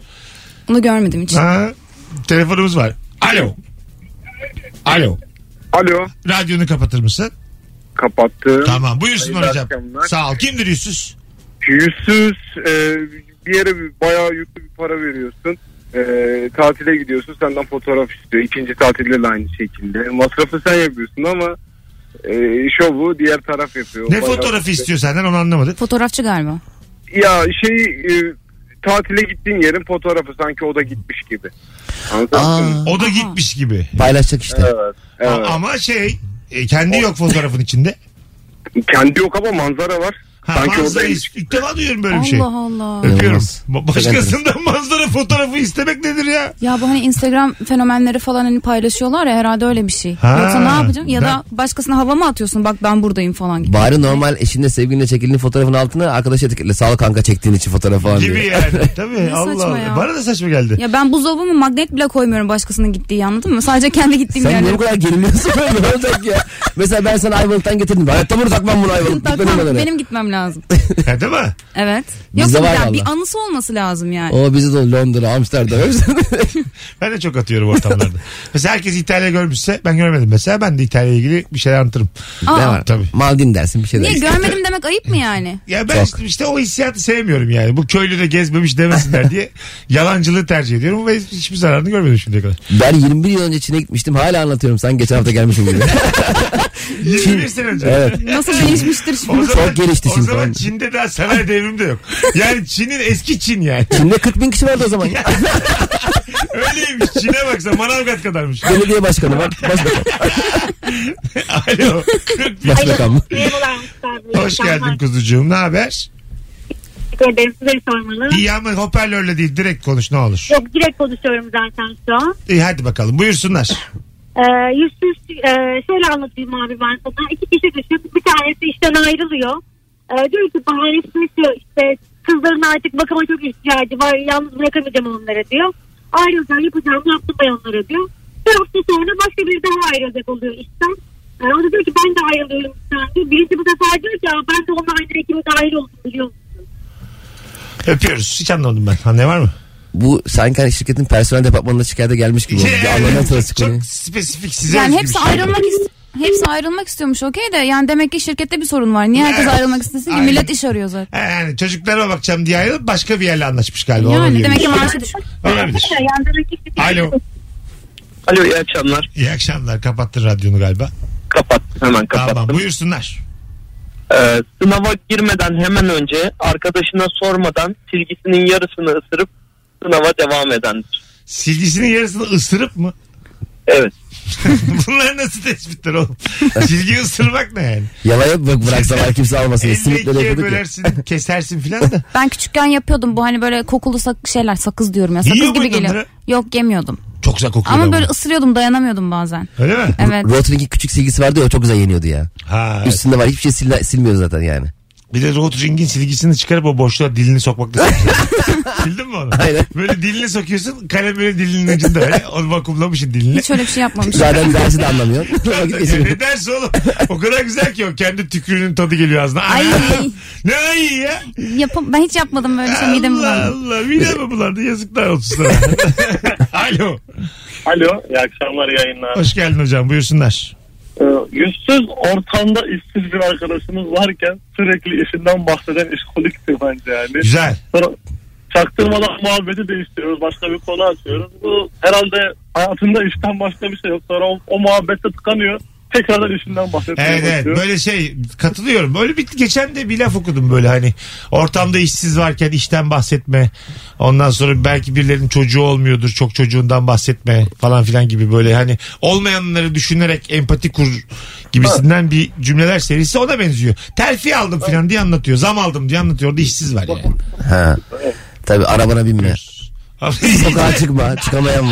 S2: Bunu görmedim hiç.
S1: Ha, telefonumuz var. Alo. Alo.
S8: Alo.
S1: Radyonu kapatır mısın?
S8: Kapattım.
S1: Tamam buyursunlar
S8: Hayırlı
S1: hocam.
S8: akşamlar.
S1: Sağ ol. Kimdir yüzsüz?
S8: Yüzsüz e, bir yere bir- bayağı yüklü bir para veriyorsun. E, tatile gidiyorsun senden fotoğraf istiyor. İkinci tatilde de aynı şekilde. Masrafı sen yapıyorsun ama e, şovu diğer taraf yapıyor.
S1: Ne
S8: Bayağı-
S1: fotoğrafı istiyor senden onu anlamadık.
S2: Fotoğrafçı galiba.
S8: Ya şey e, tatile gittiğin yerin fotoğrafı sanki o da gitmiş gibi. Anladın
S3: Aa,
S8: mı?
S1: O da gitmiş gibi.
S3: paylaşacak işte.
S8: Evet. evet.
S1: A- Ama şey e, kendi yok fotoğrafın içinde.
S8: Kendi yok ama manzara var.
S1: Ha,
S8: Sanki
S1: manzara
S8: oradaymış.
S1: is- ilk defa duyuyorum böyle bir
S2: Allah
S1: şey.
S2: Allah.
S1: Öpüyorum.
S3: İnanılmaz.
S1: Ba- Başkasından manzara fotoğrafı istemek nedir ya?
S2: Ya bu hani Instagram fenomenleri falan hani paylaşıyorlar ya herhalde öyle bir şey.
S1: Ha.
S2: Yoksa ne yapacaksın? Ya da başkasına hava mı atıyorsun? Bak ben buradayım falan gibi.
S3: Bari normal eşinle sevgilinle çekildiğin fotoğrafın altına arkadaş etiketle sağ ol kanka çektiğin için fotoğraf falan
S1: Gibi
S3: diye.
S1: yani. Tabii
S2: Ne
S1: Allah
S2: saçma
S1: Allah.
S2: ya.
S1: Bana da saçma geldi.
S2: Ya ben buzdolabıma magnet bile koymuyorum başkasının gittiği anladın mı? Sadece kendi gittiğim
S3: Sen niye
S2: yerlere.
S3: bu kadar geriliyorsun? ne olacak ya? Mesela ben sana Ayvalık'tan getirdim. Hayatta bunu takmam bunu Ayvalık.
S2: Takmam,
S3: Gitmedim ben oraya.
S2: benim gitmem lazım.
S1: Ha, değil mi?
S2: Evet.
S3: Bizde
S2: Yoksa bir,
S3: var
S2: daha- bir
S3: vallahi.
S2: anısı olması lazım yani.
S3: O bizi de Londra, Amsterdam.
S1: Ben de çok atıyorum ortamlarda. mesela herkes İtalya görmüşse ben görmedim mesela. Ben de İtalya ilgili bir şeyler anlatırım.
S2: Aa,
S3: ne var?
S1: Tabii.
S3: Maldin dersin bir şey
S2: Niye
S3: dersin.
S2: görmedim demek ayıp mı yani?
S1: Ya ben
S3: Çok.
S1: işte, işte o hissiyatı sevmiyorum yani. Bu köylü de gezmemiş demesinler diye yalancılığı tercih ediyorum ve hiçbir zararını görmedim şimdiye kadar.
S3: Ben 21 yıl önce Çin'e gitmiştim. Hala anlatıyorum. Sen geçen hafta gelmişsin gibi.
S1: 21 sene önce.
S3: evet.
S2: Nasıl değişmiştir
S1: O
S2: şimdi?
S1: zaman,
S3: Çok gelişti
S1: O
S3: Çin
S1: zaman
S3: falan.
S1: Çin'de daha sanayi devrimi de yok. Yani Çin'in eski Çin yani.
S3: Çin'de 40 bin kişi vardı o zaman.
S1: Öyleymiş. Çin'e baksa Manavgat kadarmış.
S3: Belediye başkanı var. Başbakan.
S1: Alo. 40 bin.
S3: Başbakan mı?
S10: Merhabalar Mesut abi.
S1: Hoş geldin kuzucuğum. Ne haber?
S10: Teşekkür ederim. Size sormalı.
S1: İyi ama hoparlörle değil. Direkt konuş ne olur.
S10: Yok direkt konuşuyorum zaten şu an.
S1: İyi hadi bakalım. Buyursunlar.
S10: Ee, yüzsüz e, şöyle anlatayım abi ben sana. İki kişi düşün. Bir tanesi işten ayrılıyor. Ee, diyor ki bahanesi diyor işte kızların artık bakıma çok ihtiyacı var. Yalnız bırakamayacağım onları diyor. Ayrılacağım yapacağım yaptım ben onlara diyor. Bir hafta sonra başka biri daha ayrılacak oluyor işten. Ee, o da diyor ki ben de ayrılıyorum işten diyor. Birisi bu sefer diyor ki "Aa, ben de onun aynı ekime dahil oldum biliyor musun?
S1: Öpüyoruz. Hiç anlamadım ben. Anne var mı?
S3: Bu sanki hani şirketin personel departmanına şikayete gelmiş gibi oldu. Ya Allah'ın hatırası konuyu.
S1: Çok spesifik size
S2: Yani
S1: özgü bir
S2: hepsi
S1: şey.
S2: ayrılmak ist- Hepsi ayrılmak istiyormuş okey de yani demek ki şirkette bir sorun var. Niye herkes
S1: Evet.
S2: ayrılmak istesin ki?
S1: Aynen.
S2: Millet iş arıyor zaten.
S1: Ha, Yani çocuklara bakacağım diye ayrılıp başka bir yerle anlaşmış galiba.
S2: Yani
S1: Olabilir.
S2: demek ki maaşı düşük.
S1: Olabilir.
S10: Yani demek ki-
S1: Alo.
S5: Alo iyi akşamlar.
S1: İyi akşamlar. Kapattın radyonu galiba.
S5: Kapattım hemen kapattım.
S1: Tamam buyursunlar.
S5: Ee, sınava girmeden hemen önce arkadaşına sormadan silgisinin yarısını ısırıp sınava devam edendir.
S1: Silgisinin yarısını ısırıp mı?
S5: Evet.
S1: Bunlar nasıl tespitler oğlum? Silgiyi ısırmak ne yani?
S3: Yalaya bak bıraksalar kimse almasın. Simitle
S1: 52'ye
S3: yapıyorduk ya.
S1: bölersin, kesersin filan da.
S2: Ben küçükken yapıyordum bu hani böyle kokulu sak- şeyler sakız diyorum ya
S1: Yiyor
S2: sakız gibi
S1: muydun
S2: geliyor.
S1: bunları?
S2: Yok yemiyordum.
S1: Çok güzel kokuyor.
S2: Ama
S1: da
S2: böyle ısırıyordum dayanamıyordum bazen.
S1: Öyle mi?
S2: Evet.
S3: Rotring'in küçük silgisi vardı ya o çok güzel yeniyordu ya.
S1: Ha. evet.
S3: Üstünde var hiçbir şey silme- silmiyor zaten yani.
S1: Bir de Rod Ring'in silgisini çıkarıp o boşluğa dilini sokmak da Bildin mi onu?
S3: Aynen.
S1: Böyle dilini sokuyorsun kalem böyle dilinin ucunda öyle. Onu vakumlamışsın dilini.
S2: Hiç öyle bir şey yapmamıştım.
S3: Zaten dersi de anlamıyor. Vakit
S1: Ya
S3: geçiriyor.
S1: ne dersi oğlum? O kadar güzel ki o kendi tükürüğünün tadı geliyor ağzına.
S2: Ay.
S1: ne ay ya?
S2: Yapam ben hiç yapmadım böyle bir şey midem
S1: Allah
S2: bulandı.
S1: Allah. Mide mi bulandı? Yazıklar olsun sana. Alo.
S5: Alo iyi akşamlar yayınlar.
S1: Hoş geldin hocam. Buyursunlar.
S5: Ee, yüzsüz ortamda işsiz bir arkadaşımız varken sürekli işinden bahseden işkoliktir bence yani.
S1: Güzel.
S5: Sonra çaktırmadan muhabbeti değiştiriyoruz. Başka bir konu açıyoruz. Bu herhalde hayatında işten başka bir şey yok. Sonra o, o muhabbette tıkanıyor. Tekrardan işinden bahsetmeye
S1: Evet evet
S5: başlıyor.
S1: böyle şey katılıyorum. Böyle bir geçen de bir laf okudum böyle hani ortamda işsiz varken işten bahsetme. Ondan sonra belki birilerinin çocuğu olmuyordur çok çocuğundan bahsetme falan filan gibi böyle hani olmayanları düşünerek empati kur gibisinden bir cümleler serisi ona benziyor. Terfi aldım filan diye anlatıyor. Zam aldım diye anlatıyor. Orada işsiz var yani.
S3: Ha. Tabii arabana binme. Sokağa çıkma. Çıkamayan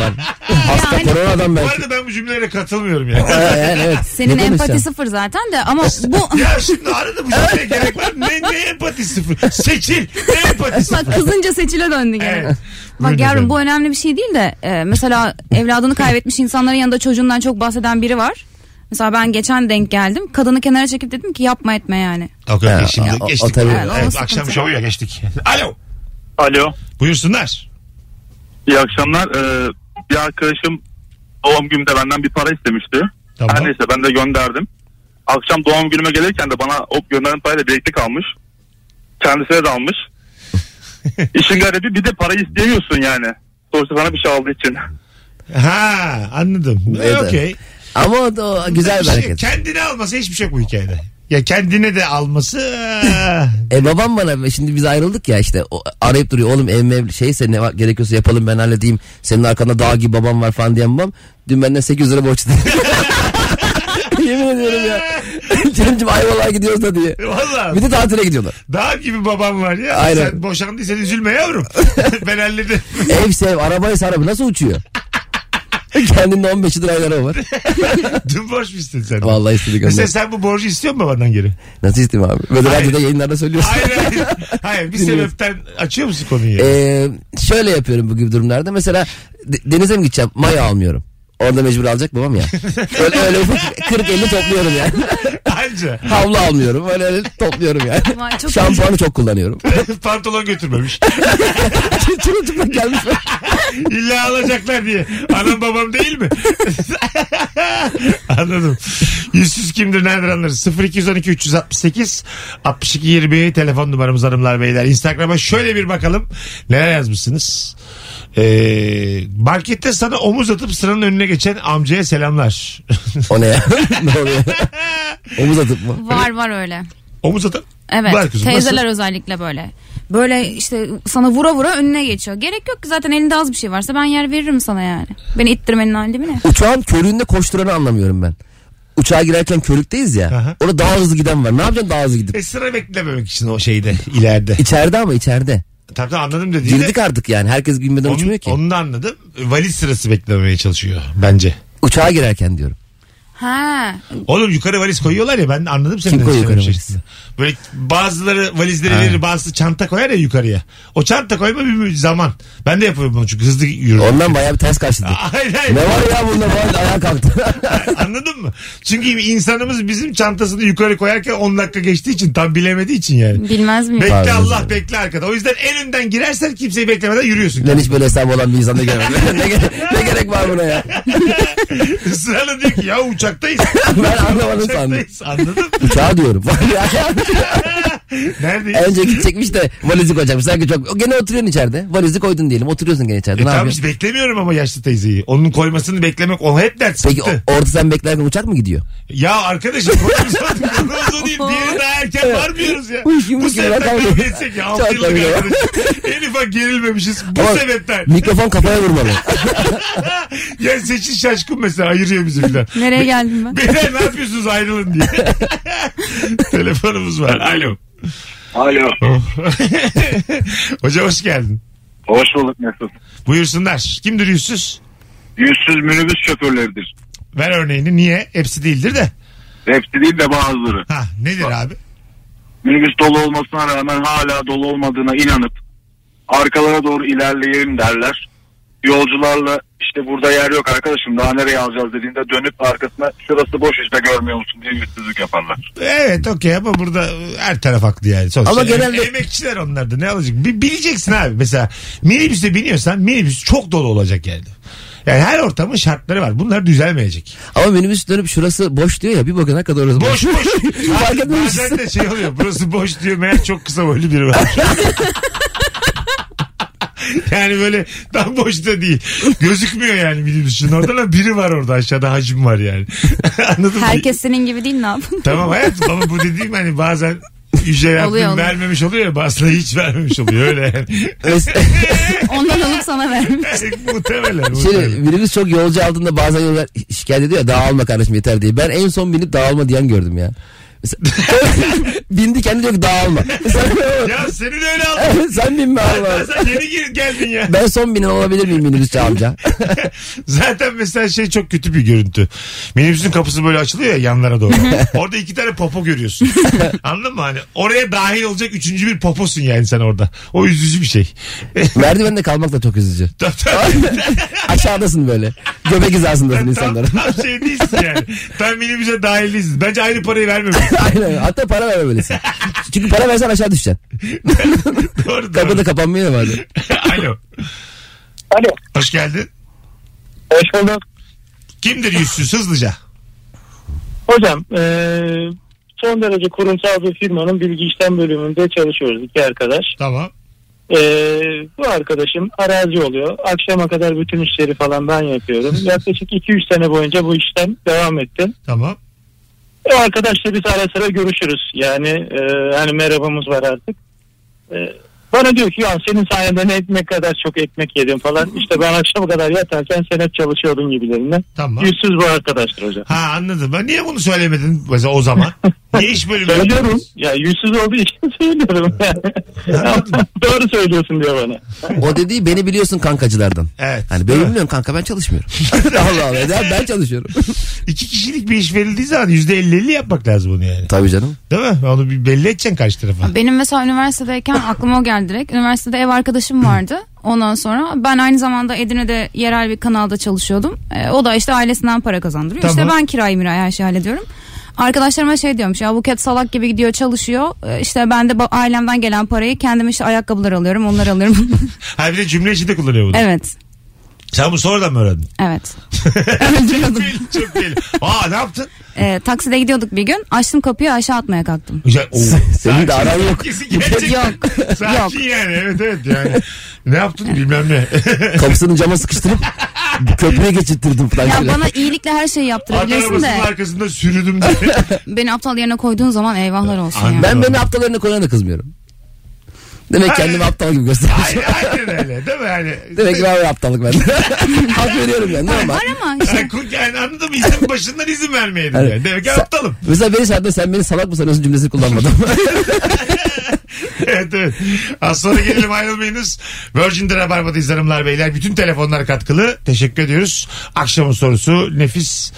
S3: var. Hasta
S2: Yani-
S3: koronadan
S1: hani Bu
S3: belki.
S1: arada ben bu cümlelere katılmıyorum Ee, yani.
S3: Ha, yani evet.
S2: Senin
S3: Ne
S2: empati
S3: konuşacaksın?
S2: sıfır zaten de ama bu
S1: Ya şimdi arada bu cümleye gerek var. mı? Ne, ne empati sıfır. Seçil. Ne empati sıfır.
S2: bak kızınca seçile döndü gene.
S1: Evet. Buyurun
S2: Bak yavrum
S1: efendim.
S2: bu önemli bir şey değil de e, mesela evladını kaybetmiş insanların yanında çocuğundan çok bahseden biri var. Mesela ben geçen denk geldim. Kadını kenara çekip dedim ki yapma etme yani.
S1: Yok yok
S3: Ha,
S1: şimdi
S3: ya, o- o
S1: geçtik.
S3: tabii.
S1: Evet,
S2: Evet, o
S1: evet,
S2: sıkıntı.
S1: akşam şovuyla geçtik. Alo.
S5: Alo.
S1: Buyursunlar.
S5: İyi akşamlar. Ee, bir arkadaşım doğum günümde benden bir para istemişti.
S1: Tamam.
S5: Her neyse ben de gönderdim. Akşam doğum günüme gelirken de bana o gönderen parayla birlikte kalmış. Kendisine de almış. İşin garibi bir de parayı isteyemiyorsun yani. Sonuçta sana bir şey aldığı için.
S1: Ha anladım. Ee,
S3: Evet.
S1: Okey.
S3: Ama o, da- o güzel
S1: Bir
S3: bir
S1: şey-
S3: hareket.
S1: Kendine alması hiçbir şey yok bu hikayede. Ya kendine de alması. ah.
S3: E babam bana şimdi biz ayrıldık ya işte o, arayıp duruyor oğlum ev mev şeyse ne var- gerekiyorsa yapalım ben halledeyim. Senin arkanda dağ gibi babam var falan diyen babam. Dün benden 800 lira borçlu. Yemin ediyorum ya. Cem'cim Ayvalık'a gidiyoruz da diye.
S1: Valla.
S3: Bir de tatile gidiyorlar.
S1: Dağ gibi babam var ya.
S3: Aynen.
S1: Sen boşandıysan üzülme yavrum. ben hallederim.
S3: Ev sev, arabayı sarabı nasıl uçuyor? Kendinde 15 lirayla araba var.
S1: Dün borç mu istedin sen?
S3: Vallahi istedik
S1: Mesela
S3: ondan.
S1: sen bu borcu istiyor musun babandan geri?
S3: Nasıl isteyeyim abi? Böyle radyoda yayınlarda söylüyorsun.
S1: Hayır hayır. Hayır bir
S3: Bilmiyorum.
S1: sebepten açıyor musun konuyu? ya?
S3: Ee, şöyle yapıyorum bu gibi durumlarda. Mesela de- denize mi gideceğim? Maya almıyorum. Orada mecbur alacak babam ya. Öyle öyle 40-50 topluyorum yani.
S1: Anca.
S3: Havlu almıyorum. Öyle öyle topluyorum yani.
S2: Vay, çok
S3: Şampuanı çok kullanıyorum.
S1: Pantolon götürmemiş.
S3: Çırı çıplak gelmiş.
S1: İlla alacaklar diye. Anam babam değil mi? Anladım. Yüzsüz kimdir nereden anlarız? 0212 368 62 20 telefon numaramız hanımlar beyler. Instagram'a şöyle bir bakalım. Neler yazmışsınız? Ee, markette sana omuz atıp sıranın önüne geçen amcaya selamlar.
S3: O ne ya? ne oluyor? Omuz atıp mı?
S2: Var var öyle.
S1: omuz atıp?
S2: Evet.
S1: Var kızım,
S2: teyzeler
S1: nasıl?
S2: özellikle böyle. Böyle işte sana vura vura önüne geçiyor. Gerek yok ki zaten elinde az bir şey varsa ben yer veririm sana yani. Beni ittirmenin halinde mi ne?
S3: Uçağın körüğünde koşturanı anlamıyorum ben. Uçağa girerken körükteyiz ya.
S1: Aha.
S3: Orada daha hızlı giden var. Ne yapacaksın daha hızlı gidip?
S1: E sıra beklememek için o şeyde ileride.
S3: İçeride ama içeride.
S1: Tabii tabii anladım dediğini.
S3: Girdik artık yani. Herkes binmeden
S1: Onun,
S3: uçmuyor ki.
S1: onu da anladım. Valiz sırası beklememeye çalışıyor bence.
S3: Uçağa girerken diyorum.
S2: Ha.
S1: Oğlum yukarı valiz koyuyorlar ya ben anladım senin
S3: Kim koyuyor
S1: demek
S3: yukarı
S1: istediğini. Böyle bazıları valizleri verir bazısı çanta koyar ya yukarıya. O çanta koyma bir bir zaman. Ben de yapıyorum bunu çünkü hızlı yürüyorum.
S3: Ondan bayağı bir ters karşıladık.
S1: Hayır hayır.
S3: Ne var ya bunda falan ayağa kalktı.
S1: Anladın mı? Çünkü insanımız bizim çantasını yukarı koyarken 10 dakika geçtiği için tam bilemediği için yani.
S2: Bilmez miyim?
S1: Bekle
S3: Pardon.
S1: Allah bekle arkada. O yüzden en önden girersen kimseyi beklemeden yürüyorsun.
S3: Lan hiç böyle hesabı olan bir insanda görmedim. ne, gere- ne gerek var buna ya?
S1: Sırada diyor ki ya uçaktayız.
S3: Ben anlamadım sandım.
S1: uçaktayız. Anladın mı?
S3: Uçağa diyorum. Vay ya.
S1: Neredeyiz?
S3: Önce gidecekmiş de valizi koyacakmış. Sanki çok... Gene oturuyorsun içeride. Valizi koydun diyelim. Oturuyorsun gene içeride.
S1: E
S3: ne
S1: tamam
S3: yapıyorsun?
S1: işte beklemiyorum ama yaşlı teyzeyi. Onun koymasını beklemek o hep dert
S3: Peki o-
S1: sıktı.
S3: orada sen beklerken uçak mı gidiyor?
S1: Ya arkadaşım konumuz o- konumuz o değil. Diğeri daha erken varmıyoruz ya.
S3: Uy, kim
S1: Bu
S3: bu kim? Ben
S1: sebepten
S3: kaldım.
S1: geçsek ya. Altı
S3: Çok
S1: yıllık
S3: komik.
S1: arkadaşım. En ufak gerilmemişiz. Bu
S3: Ama
S1: sebepten.
S3: Mikrofon kafaya vurmalı.
S1: ya seçin şaşkın mesela ayırıyor bizi filan.
S2: Nereye geldim ben?
S1: Beyler ne yapıyorsunuz ayrılın diye. Telefonumuz var. Alo. Oh.
S5: Alo.
S1: Hocam hoş geldin.
S5: Hoş bulduk Mesut.
S1: Buyursunlar. Kimdir yüzsüz?
S5: Yüzsüz minibüs şoförleridir.
S1: Ver örneğini. Niye? Hepsi değildir de.
S5: Hepsi değil de bazıları.
S1: Ha nedir abi?
S5: minibüs dolu olmasına rağmen hala dolu olmadığına inanıp arkalara doğru ilerleyelim derler. Yolcularla işte burada yer yok arkadaşım daha nereye alacağız dediğinde dönüp arkasına şurası boş işte görmüyor musun diye yüzsüzlük yaparlar.
S1: Evet okey ama burada her taraf haklı yani. Sonuçta
S3: Ama genelde-
S1: em- emekçiler onlar da ne alacak? Bi- bileceksin abi mesela minibüse biniyorsan minibüs çok dolu olacak yani. Yani her ortamın şartları var. Bunlar düzelmeyecek.
S3: Ama minibüs dönüp şurası boş diyor ya. Bir bakın hakikaten orası boş.
S1: Boş boş.
S3: Fark etmemişsin.
S1: Bazen de şey oluyor. Burası boş diyor meğer çok kısa boylu biri var. yani böyle tam boş da değil. Gözükmüyor yani minibüsün orada da biri var orada aşağıda hacim var yani. Anladın mı?
S2: Herkes senin gibi değil ne yapın?
S1: Tamam hayatım ama bu dediğim hani bazen yüce
S2: Oluyor,
S1: Rabbim
S2: oluyor.
S1: vermemiş oluyor ya bazen hiç vermemiş oluyor öyle
S3: Mes-
S2: Ondan alıp sana vermiş.
S1: yani. muhtemelen.
S3: Şimdi
S1: muhtemelen.
S3: minibüs çok yolcu aldığında bazen yolcular şikayet ediyor ya dağılma kardeşim yeter diye. Ben en son binip dağılma diyen gördüm ya. Mesela- Bindi kendi diyor ki dağılma. Sen,
S1: Ya seni de öyle aldım.
S3: sen binme Allah. Allah.
S1: Sen yeni gir- geldin ya.
S3: Ben son binen olabilir miyim minibüsçü amca?
S1: Zaten mesela şey çok kötü bir görüntü. Minibüsün kapısı böyle açılıyor ya yanlara doğru. orada iki tane popo görüyorsun. Anladın mı? Hani oraya dahil olacak üçüncü bir poposun yani sen orada. O üzücü bir şey.
S3: Merdivende kalmak da çok üzücü.
S1: Tam- tam-
S3: Aşağıdasın böyle. Göbek hizasındasın
S1: tam,
S3: insanların.
S1: tam şey değilsin yani. Tam minibüse dahil değilsin. Bence aynı parayı vermemişsin.
S3: Aynen. Hatta para vermemelisin. Çünkü para versen aşağı düşeceksin.
S1: doğru doğru.
S3: Kapı da kapanmıyor ya bazen.
S1: Alo.
S8: Alo.
S1: Hoş geldin.
S8: Hoş bulduk.
S1: Kimdir yüzsüz hızlıca?
S8: Hocam
S11: e,
S8: eee, Ee, son derece kurumsal bir firmanın bilgi işlem bölümünde çalışıyoruz iki arkadaş.
S1: Tamam.
S8: Eee, bu arkadaşım arazi oluyor. Akşama kadar bütün işleri falan ben yapıyorum. Yaklaşık 2-3 sene boyunca bu işlem devam etti.
S1: Tamam.
S8: E, arkadaşla biz ara sıra görüşürüz. Yani eee hani merhabamız var artık. Eee,
S11: Bana diyor ki ya senin sayende ne ekmek kadar çok ekmek yedim falan. İşte ben akşama kadar yatarken sen hep çalışıyordun gibilerinden.
S1: Tamam.
S11: Yüzsüz bu arkadaşlar hocam.
S1: Ha anladım. Ben niye bunu söylemedin mesela o zaman? Niye iş bölümü?
S11: Söylüyorum. Ya yüzsüz olduğu için söylüyorum. Şey Doğru söylüyorsun diyor bana.
S3: O dediği beni biliyorsun kankacılardan.
S1: Evet.
S3: Hani
S1: Değil
S3: beni
S1: mi?
S3: biliyorsun kanka ben çalışmıyorum. Allah Allah ya ben çalışıyorum.
S1: İki kişilik bir iş verildiği zaman yüzde elli elli yapmak lazım bunu yani.
S3: Tabii canım.
S1: Değil mi? Onu bir belli edeceksin karşı tarafa.
S2: Benim mesela üniversitedeyken aklıma o geldi direkt. Üniversitede ev arkadaşım vardı. Ondan sonra ben aynı zamanda Edirne'de yerel bir kanalda çalışıyordum. Ee, o da işte ailesinden para kazandırıyor. İşte
S1: Tamam.
S2: ben kirayı mirayı her şeyi hallediyorum. Arkadaşlarıma şey diyormuş ya Buket salak gibi gidiyor çalışıyor. Ee, İşte ben de ba- ailemden gelen parayı kendime işte ayakkabılar alıyorum onları alıyorum.
S1: Ha bir de cümle içinde kullanıyor bunu.
S2: evet
S1: Sen bu sonradan mı öğrendin?
S2: evet. Öldürüyordum.
S1: Belli, çok belli. Aa ne yaptın?
S2: Ee, takside gidiyorduk bir gün açtım kapıyı aşağı atmaya kalktım.
S1: Güzel. Oo.
S3: Senin de aran yok.
S1: Gerçekten. Sakin yani evet evet yani. Ne yaptın bilmem ne.
S3: Kapısını cama sıkıştırıp köprüye geçirttirdim falan.
S2: Ya
S3: şöyle.
S2: bana iyilikle her şeyi
S1: At
S2: yaptırabilirsin
S1: arabasının
S2: de
S1: arkasında sürüdüm diye.
S2: beni aptal yerine koyduğun zaman eyvahlar olsun. ya.
S3: Ben beni aptallarına koyana da kızmıyorum. Demek kendimi aptal gibi
S1: Aynen,
S3: göstermişim.
S1: aynen öyle değil mi Hani yani?
S3: Demek ki ben aptallık ben. Hak veriyorum yani ama.
S2: Var ama işte
S1: Yani, yani anladın mı? İzin başından izin vermeyelim yani. Demek ki
S3: Hani Sen-
S1: aptalım.
S3: Mesela beni sardın sen beni salak mı sanıyorsun cümlesini kullanmadım.
S1: evet evet. Az sonra gelelim ayrılmayınız. Virgin'de Rabarba'dayız hanımlar beyler. Bütün telefonlar katkılı. Teşekkür ediyoruz. Akşamın sorusu nefis.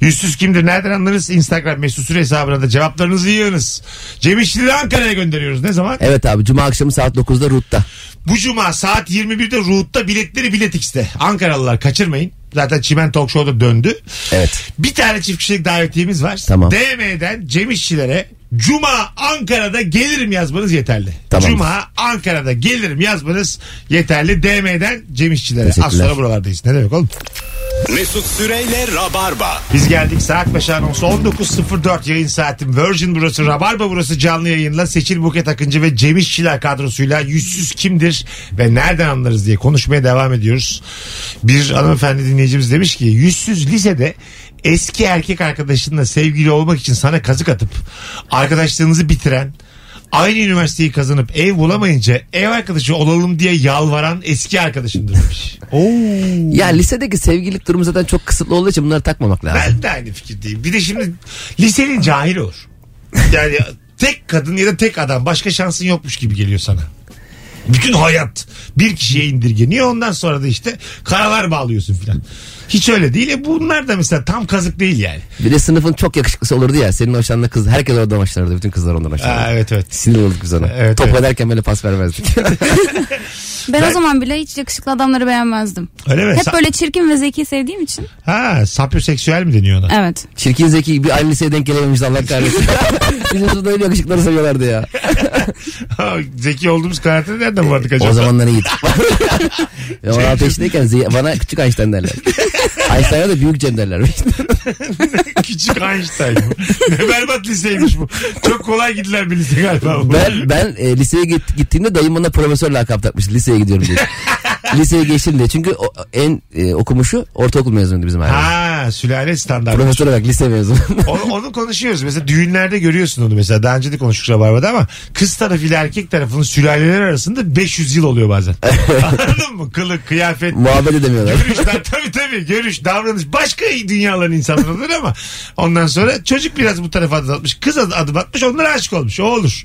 S1: Yüzsüz kimdir? Nereden anlarız? Instagram mesut süre hesabına da cevaplarınızı yığınız. Cem İşçileri Ankara'ya gönderiyoruz. Ne zaman?
S3: evet abi cuma akşamı saat 9'da Rut'ta.
S1: Bu cuma saat 21'de Ruhut'ta biletleri Bilet X'te. Ankaralılar kaçırmayın. Zaten Çimen Talk Show'da döndü.
S3: Evet.
S1: Bir tane çift kişilik davetiyemiz var.
S3: Tamam.
S1: DM'den Cem İşçilere Cuma Ankara'da gelirim yazmanız yeterli.
S3: Tamam.
S1: Cuma Ankara'da gelirim yazmanız yeterli. DM'den Cem İşçilere. Az
S3: Teşekkürler.
S1: sonra buralardayız. Ne demek oğlum?
S9: Mesut Süreyle Rabarba.
S1: Biz geldik saat başı anonsu 19.04 yayın saatim. Virgin burası, Rabarba burası canlı yayınla Seçil Buket Akıncı ve Cem İşçiler kadrosuyla yüzsüz kimdir ve nereden anlarız diye konuşmaya devam ediyoruz. Bir hanımefendi dinleyicimiz demiş ki yüzsüz lisede eski erkek arkadaşınla sevgili olmak için sana kazık atıp arkadaşlığınızı bitiren aynı üniversiteyi kazanıp ev bulamayınca ev arkadaşı olalım diye yalvaran eski arkadaşımdır demiş. Oo.
S3: Ya lisedeki sevgililik durumu zaten çok kısıtlı olduğu için bunları takmamak lazım.
S1: Ben de aynı fikirdeyim. Bir de şimdi lisenin cahili olur. Yani tek kadın ya da tek adam başka şansın yokmuş gibi geliyor sana. Bütün hayat bir kişiye indirgeniyor ondan sonra da işte karalar bağlıyorsun filan. Hiç öyle değil. E bunlar da mesela tam kazık değil yani.
S3: Bir de sınıfın çok yakışıklısı olurdu ya. Senin hoşlandığın kız. Herkes oradan hoşlanırdı. Bütün kızlar ondan
S1: Aa,
S3: hoşlanırdı.
S1: evet evet.
S3: Sinir olduk biz ona.
S1: Evet,
S3: Top
S1: evet.
S3: ederken böyle pas vermezdik.
S2: Ben, o zaman bile hiç yakışıklı adamları beğenmezdim.
S1: Öyle mi?
S2: Hep
S1: Sa-
S2: böyle çirkin ve zeki sevdiğim için.
S1: Ha, sapyoseksüel mi deniyor ona?
S2: Evet.
S3: Çirkin zeki bir aynı liseye denk gelememiş Allah kahretsin. Bizim sınıfta öyle yakışıkları seviyorlardı ya.
S1: Zeki olduğumuz kanaatini nereden vardık acaba? Şey
S3: O zamanlar iyiydi. Ve ona peşindeyken ze- bana küçük Einstein derler. Einstein'a da büyük Cem derler.
S1: Küçük Einstein. ne berbat liseymiş bu. Çok kolay gidilen bir lise galiba bu.
S3: ben ben e, liseye git- gittiğimde dayım bana profesör lakap takmış. Liseye gidiyorum diye. liseye geçtim diye. Çünkü o- en e, okumuşu ortaokul mezunuydu bizim aile.
S1: Ha, sülale standartı.
S3: Profesör olarak lise mezunu.
S1: Onu, onu konuşuyoruz. Mesela düğünlerde görüyorsun onu mesela. Daha önce de konuştuk Rabarba'da ama kız tarafıyla erkek tarafının sülaleler arasında 500 yıl oluyor bazen. Anladın mı? Kılık, kıyafet,
S3: Muhabbet edemiyorlar.
S1: görüşler. tabii tabii görüş, davranış. Başka dünyaların insanları olur ama ondan sonra çocuk biraz bu tarafa adım atmış. Kız ad- adım atmış. Onlara aşık olmuş. O olur.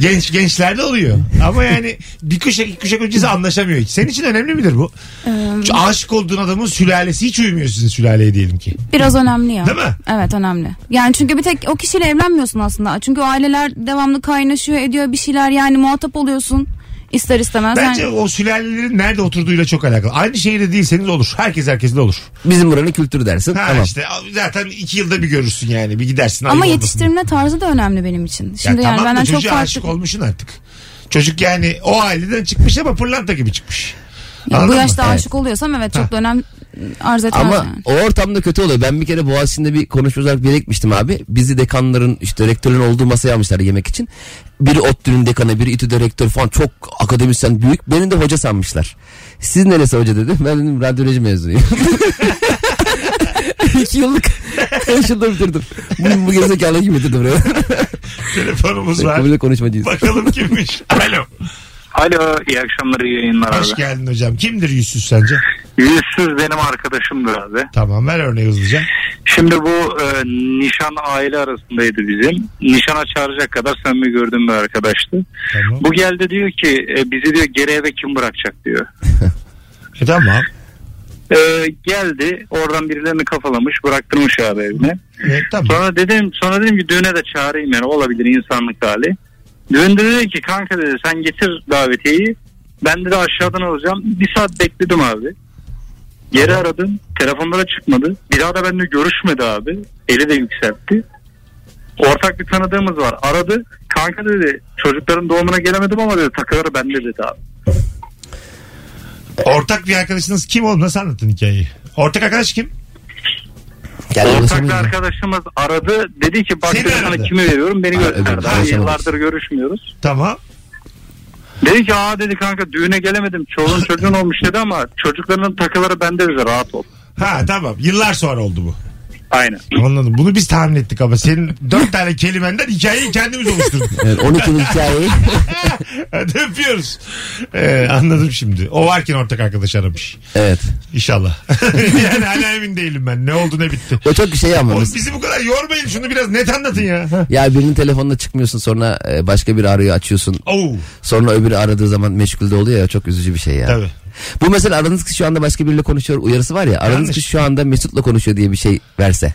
S1: Genç gençlerde oluyor. Ama yani bir kuşak iki kuşak öncesi anlaşamıyor hiç. Senin için önemli midir bu?
S2: Ee,
S1: Şu aşık olduğun adamın sülalesi hiç uymuyor sizin sülaleye diyelim ki.
S2: Biraz önemli ya.
S1: Değil mi?
S2: Evet önemli. Yani çünkü bir tek o kişiyle evlenmiyorsun aslında. Çünkü o aileler devamlı kaynaşıyor ediyor bir şeyler yani muhatap oluyorsun. ister istemez.
S1: Bence
S2: Yani-
S1: o sülalelerin nerede oturduğuyla çok alakalı. Aynı şehirde değilseniz olur. Herkes herkesle olur.
S3: Bizim buranın kültürü dersin.
S1: Ha
S3: tamam.
S1: işte zaten iki yılda bir görürsün yani. Bir gidersin.
S2: Ama
S1: ayıp olmasın.
S2: yetiştirme tarzı da önemli benim için.
S1: Ya
S2: Şimdi yani
S1: tamam da
S2: benden çok
S1: çocuğa
S2: farklı.
S1: aşık olmuşsun artık. Çocuk yani o aileden çıkmış ama pırlanta gibi çıkmış.
S2: Ya
S1: Anladın
S2: bu
S1: mı?
S2: yaşta
S3: Evet.
S2: aşık oluyorsam evet çok da önem arz etmez
S3: Ama
S2: yani.
S3: o ortamda kötü oluyor. Ben bir kere Boğaziçi'nde bir konuşma olarak bir yere gitmiştim abi. Bizi dekanların işte rektörlerin olduğu masaya almışlar yemek için. Biri ODTÜ'nün dekanı, biri İTÜ'de rektör falan çok akademisyen büyük. Beni de hoca sanmışlar. Siz neresi hoca dedim. Ben dedim radyoloji mezunuyum. İki yıllık. Beş yılda bitirdim. Bu, bu gerizekalı gibi bitirdim.
S1: Telefonumuz var.
S3: Böyle konuşmacıyız.
S1: Bakalım kimmiş. Alo.
S12: Alo iyi akşamlar iyi yayınlar abi.
S1: Hoş geldin hocam. Kimdir yüzsüz sence?
S12: Yüzsüz benim arkadaşımdır abi.
S1: Tamam ver örneği hızlıca.
S12: Şimdi bu e, nişan aile arasındaydı bizim. Nişana çağıracak kadar samimi gördüğüm bir arkadaştı. Bu geldi diyor ki e, bizi diyor geri eve kim bırakacak diyor.
S1: E tamam.
S12: E, geldi oradan birilerini kafalamış bıraktırmış abi evine.
S1: Evet, tamam.
S12: Sonra dedim sonra dedim ki düğüne de çağırayım yani olabilir insanlık hali. Düğünde dedi ki kanka dedi sen getir davetiyeyi. Ben de aşağıdan alacağım. Bir saat bekledim abi. Geri aradım. Telefonlara çıkmadı. Bir daha da benimle görüşmedi abi. Eli de yükseltti. Ortak bir tanıdığımız var. Aradı. Kanka dedi çocukların doğumuna gelemedim ama dedi takıları bende dedi abi.
S1: Ortak bir arkadaşınız kim oğlum? Nasıl anlattın hikayeyi? Ortak arkadaş kim?
S12: Ortak bir arkadaşımız aradı. Dedi ki bak dedi, sana kimi veriyorum beni gösterdi. Abi, Yıllardır görüşmüyoruz.
S1: Tamam.
S12: Dedi ki aa dedi kanka düğüne gelemedim. Çoluğun çocuğun olmuş dedi ama çocuklarının takıları bende dedi rahat ol.
S1: Ha tamam. Yıllar sonra oldu bu.
S12: Aynen.
S1: Anladım. Bunu biz tahmin ettik ama senin dört tane kelimenden hikayeyi kendimiz oluşturduk.
S3: Evet, 12 yıllık hikayeyi.
S1: Hadi öpüyoruz. Ee, anladım şimdi. O varken ortak arkadaş aramış.
S3: Evet.
S1: İnşallah. yani hala emin değilim ben. Ne oldu ne bitti.
S3: O çok şey ama.
S1: Oğlum bizi bu kadar yormayın. Şunu biraz net anlatın ya.
S3: Ya birinin telefonuna çıkmıyorsun sonra e, başka biri arıyor açıyorsun. Sonra öbürü aradığı zaman meşgulde oluyor ya çok üzücü bir şey ya.
S1: Tabii.
S3: Bu mesela aranız kişi şu anda başka biriyle konuşuyor uyarısı var ya. Aranız
S1: Yanlış.
S3: kişi şu anda Mesut'la konuşuyor diye bir şey verse.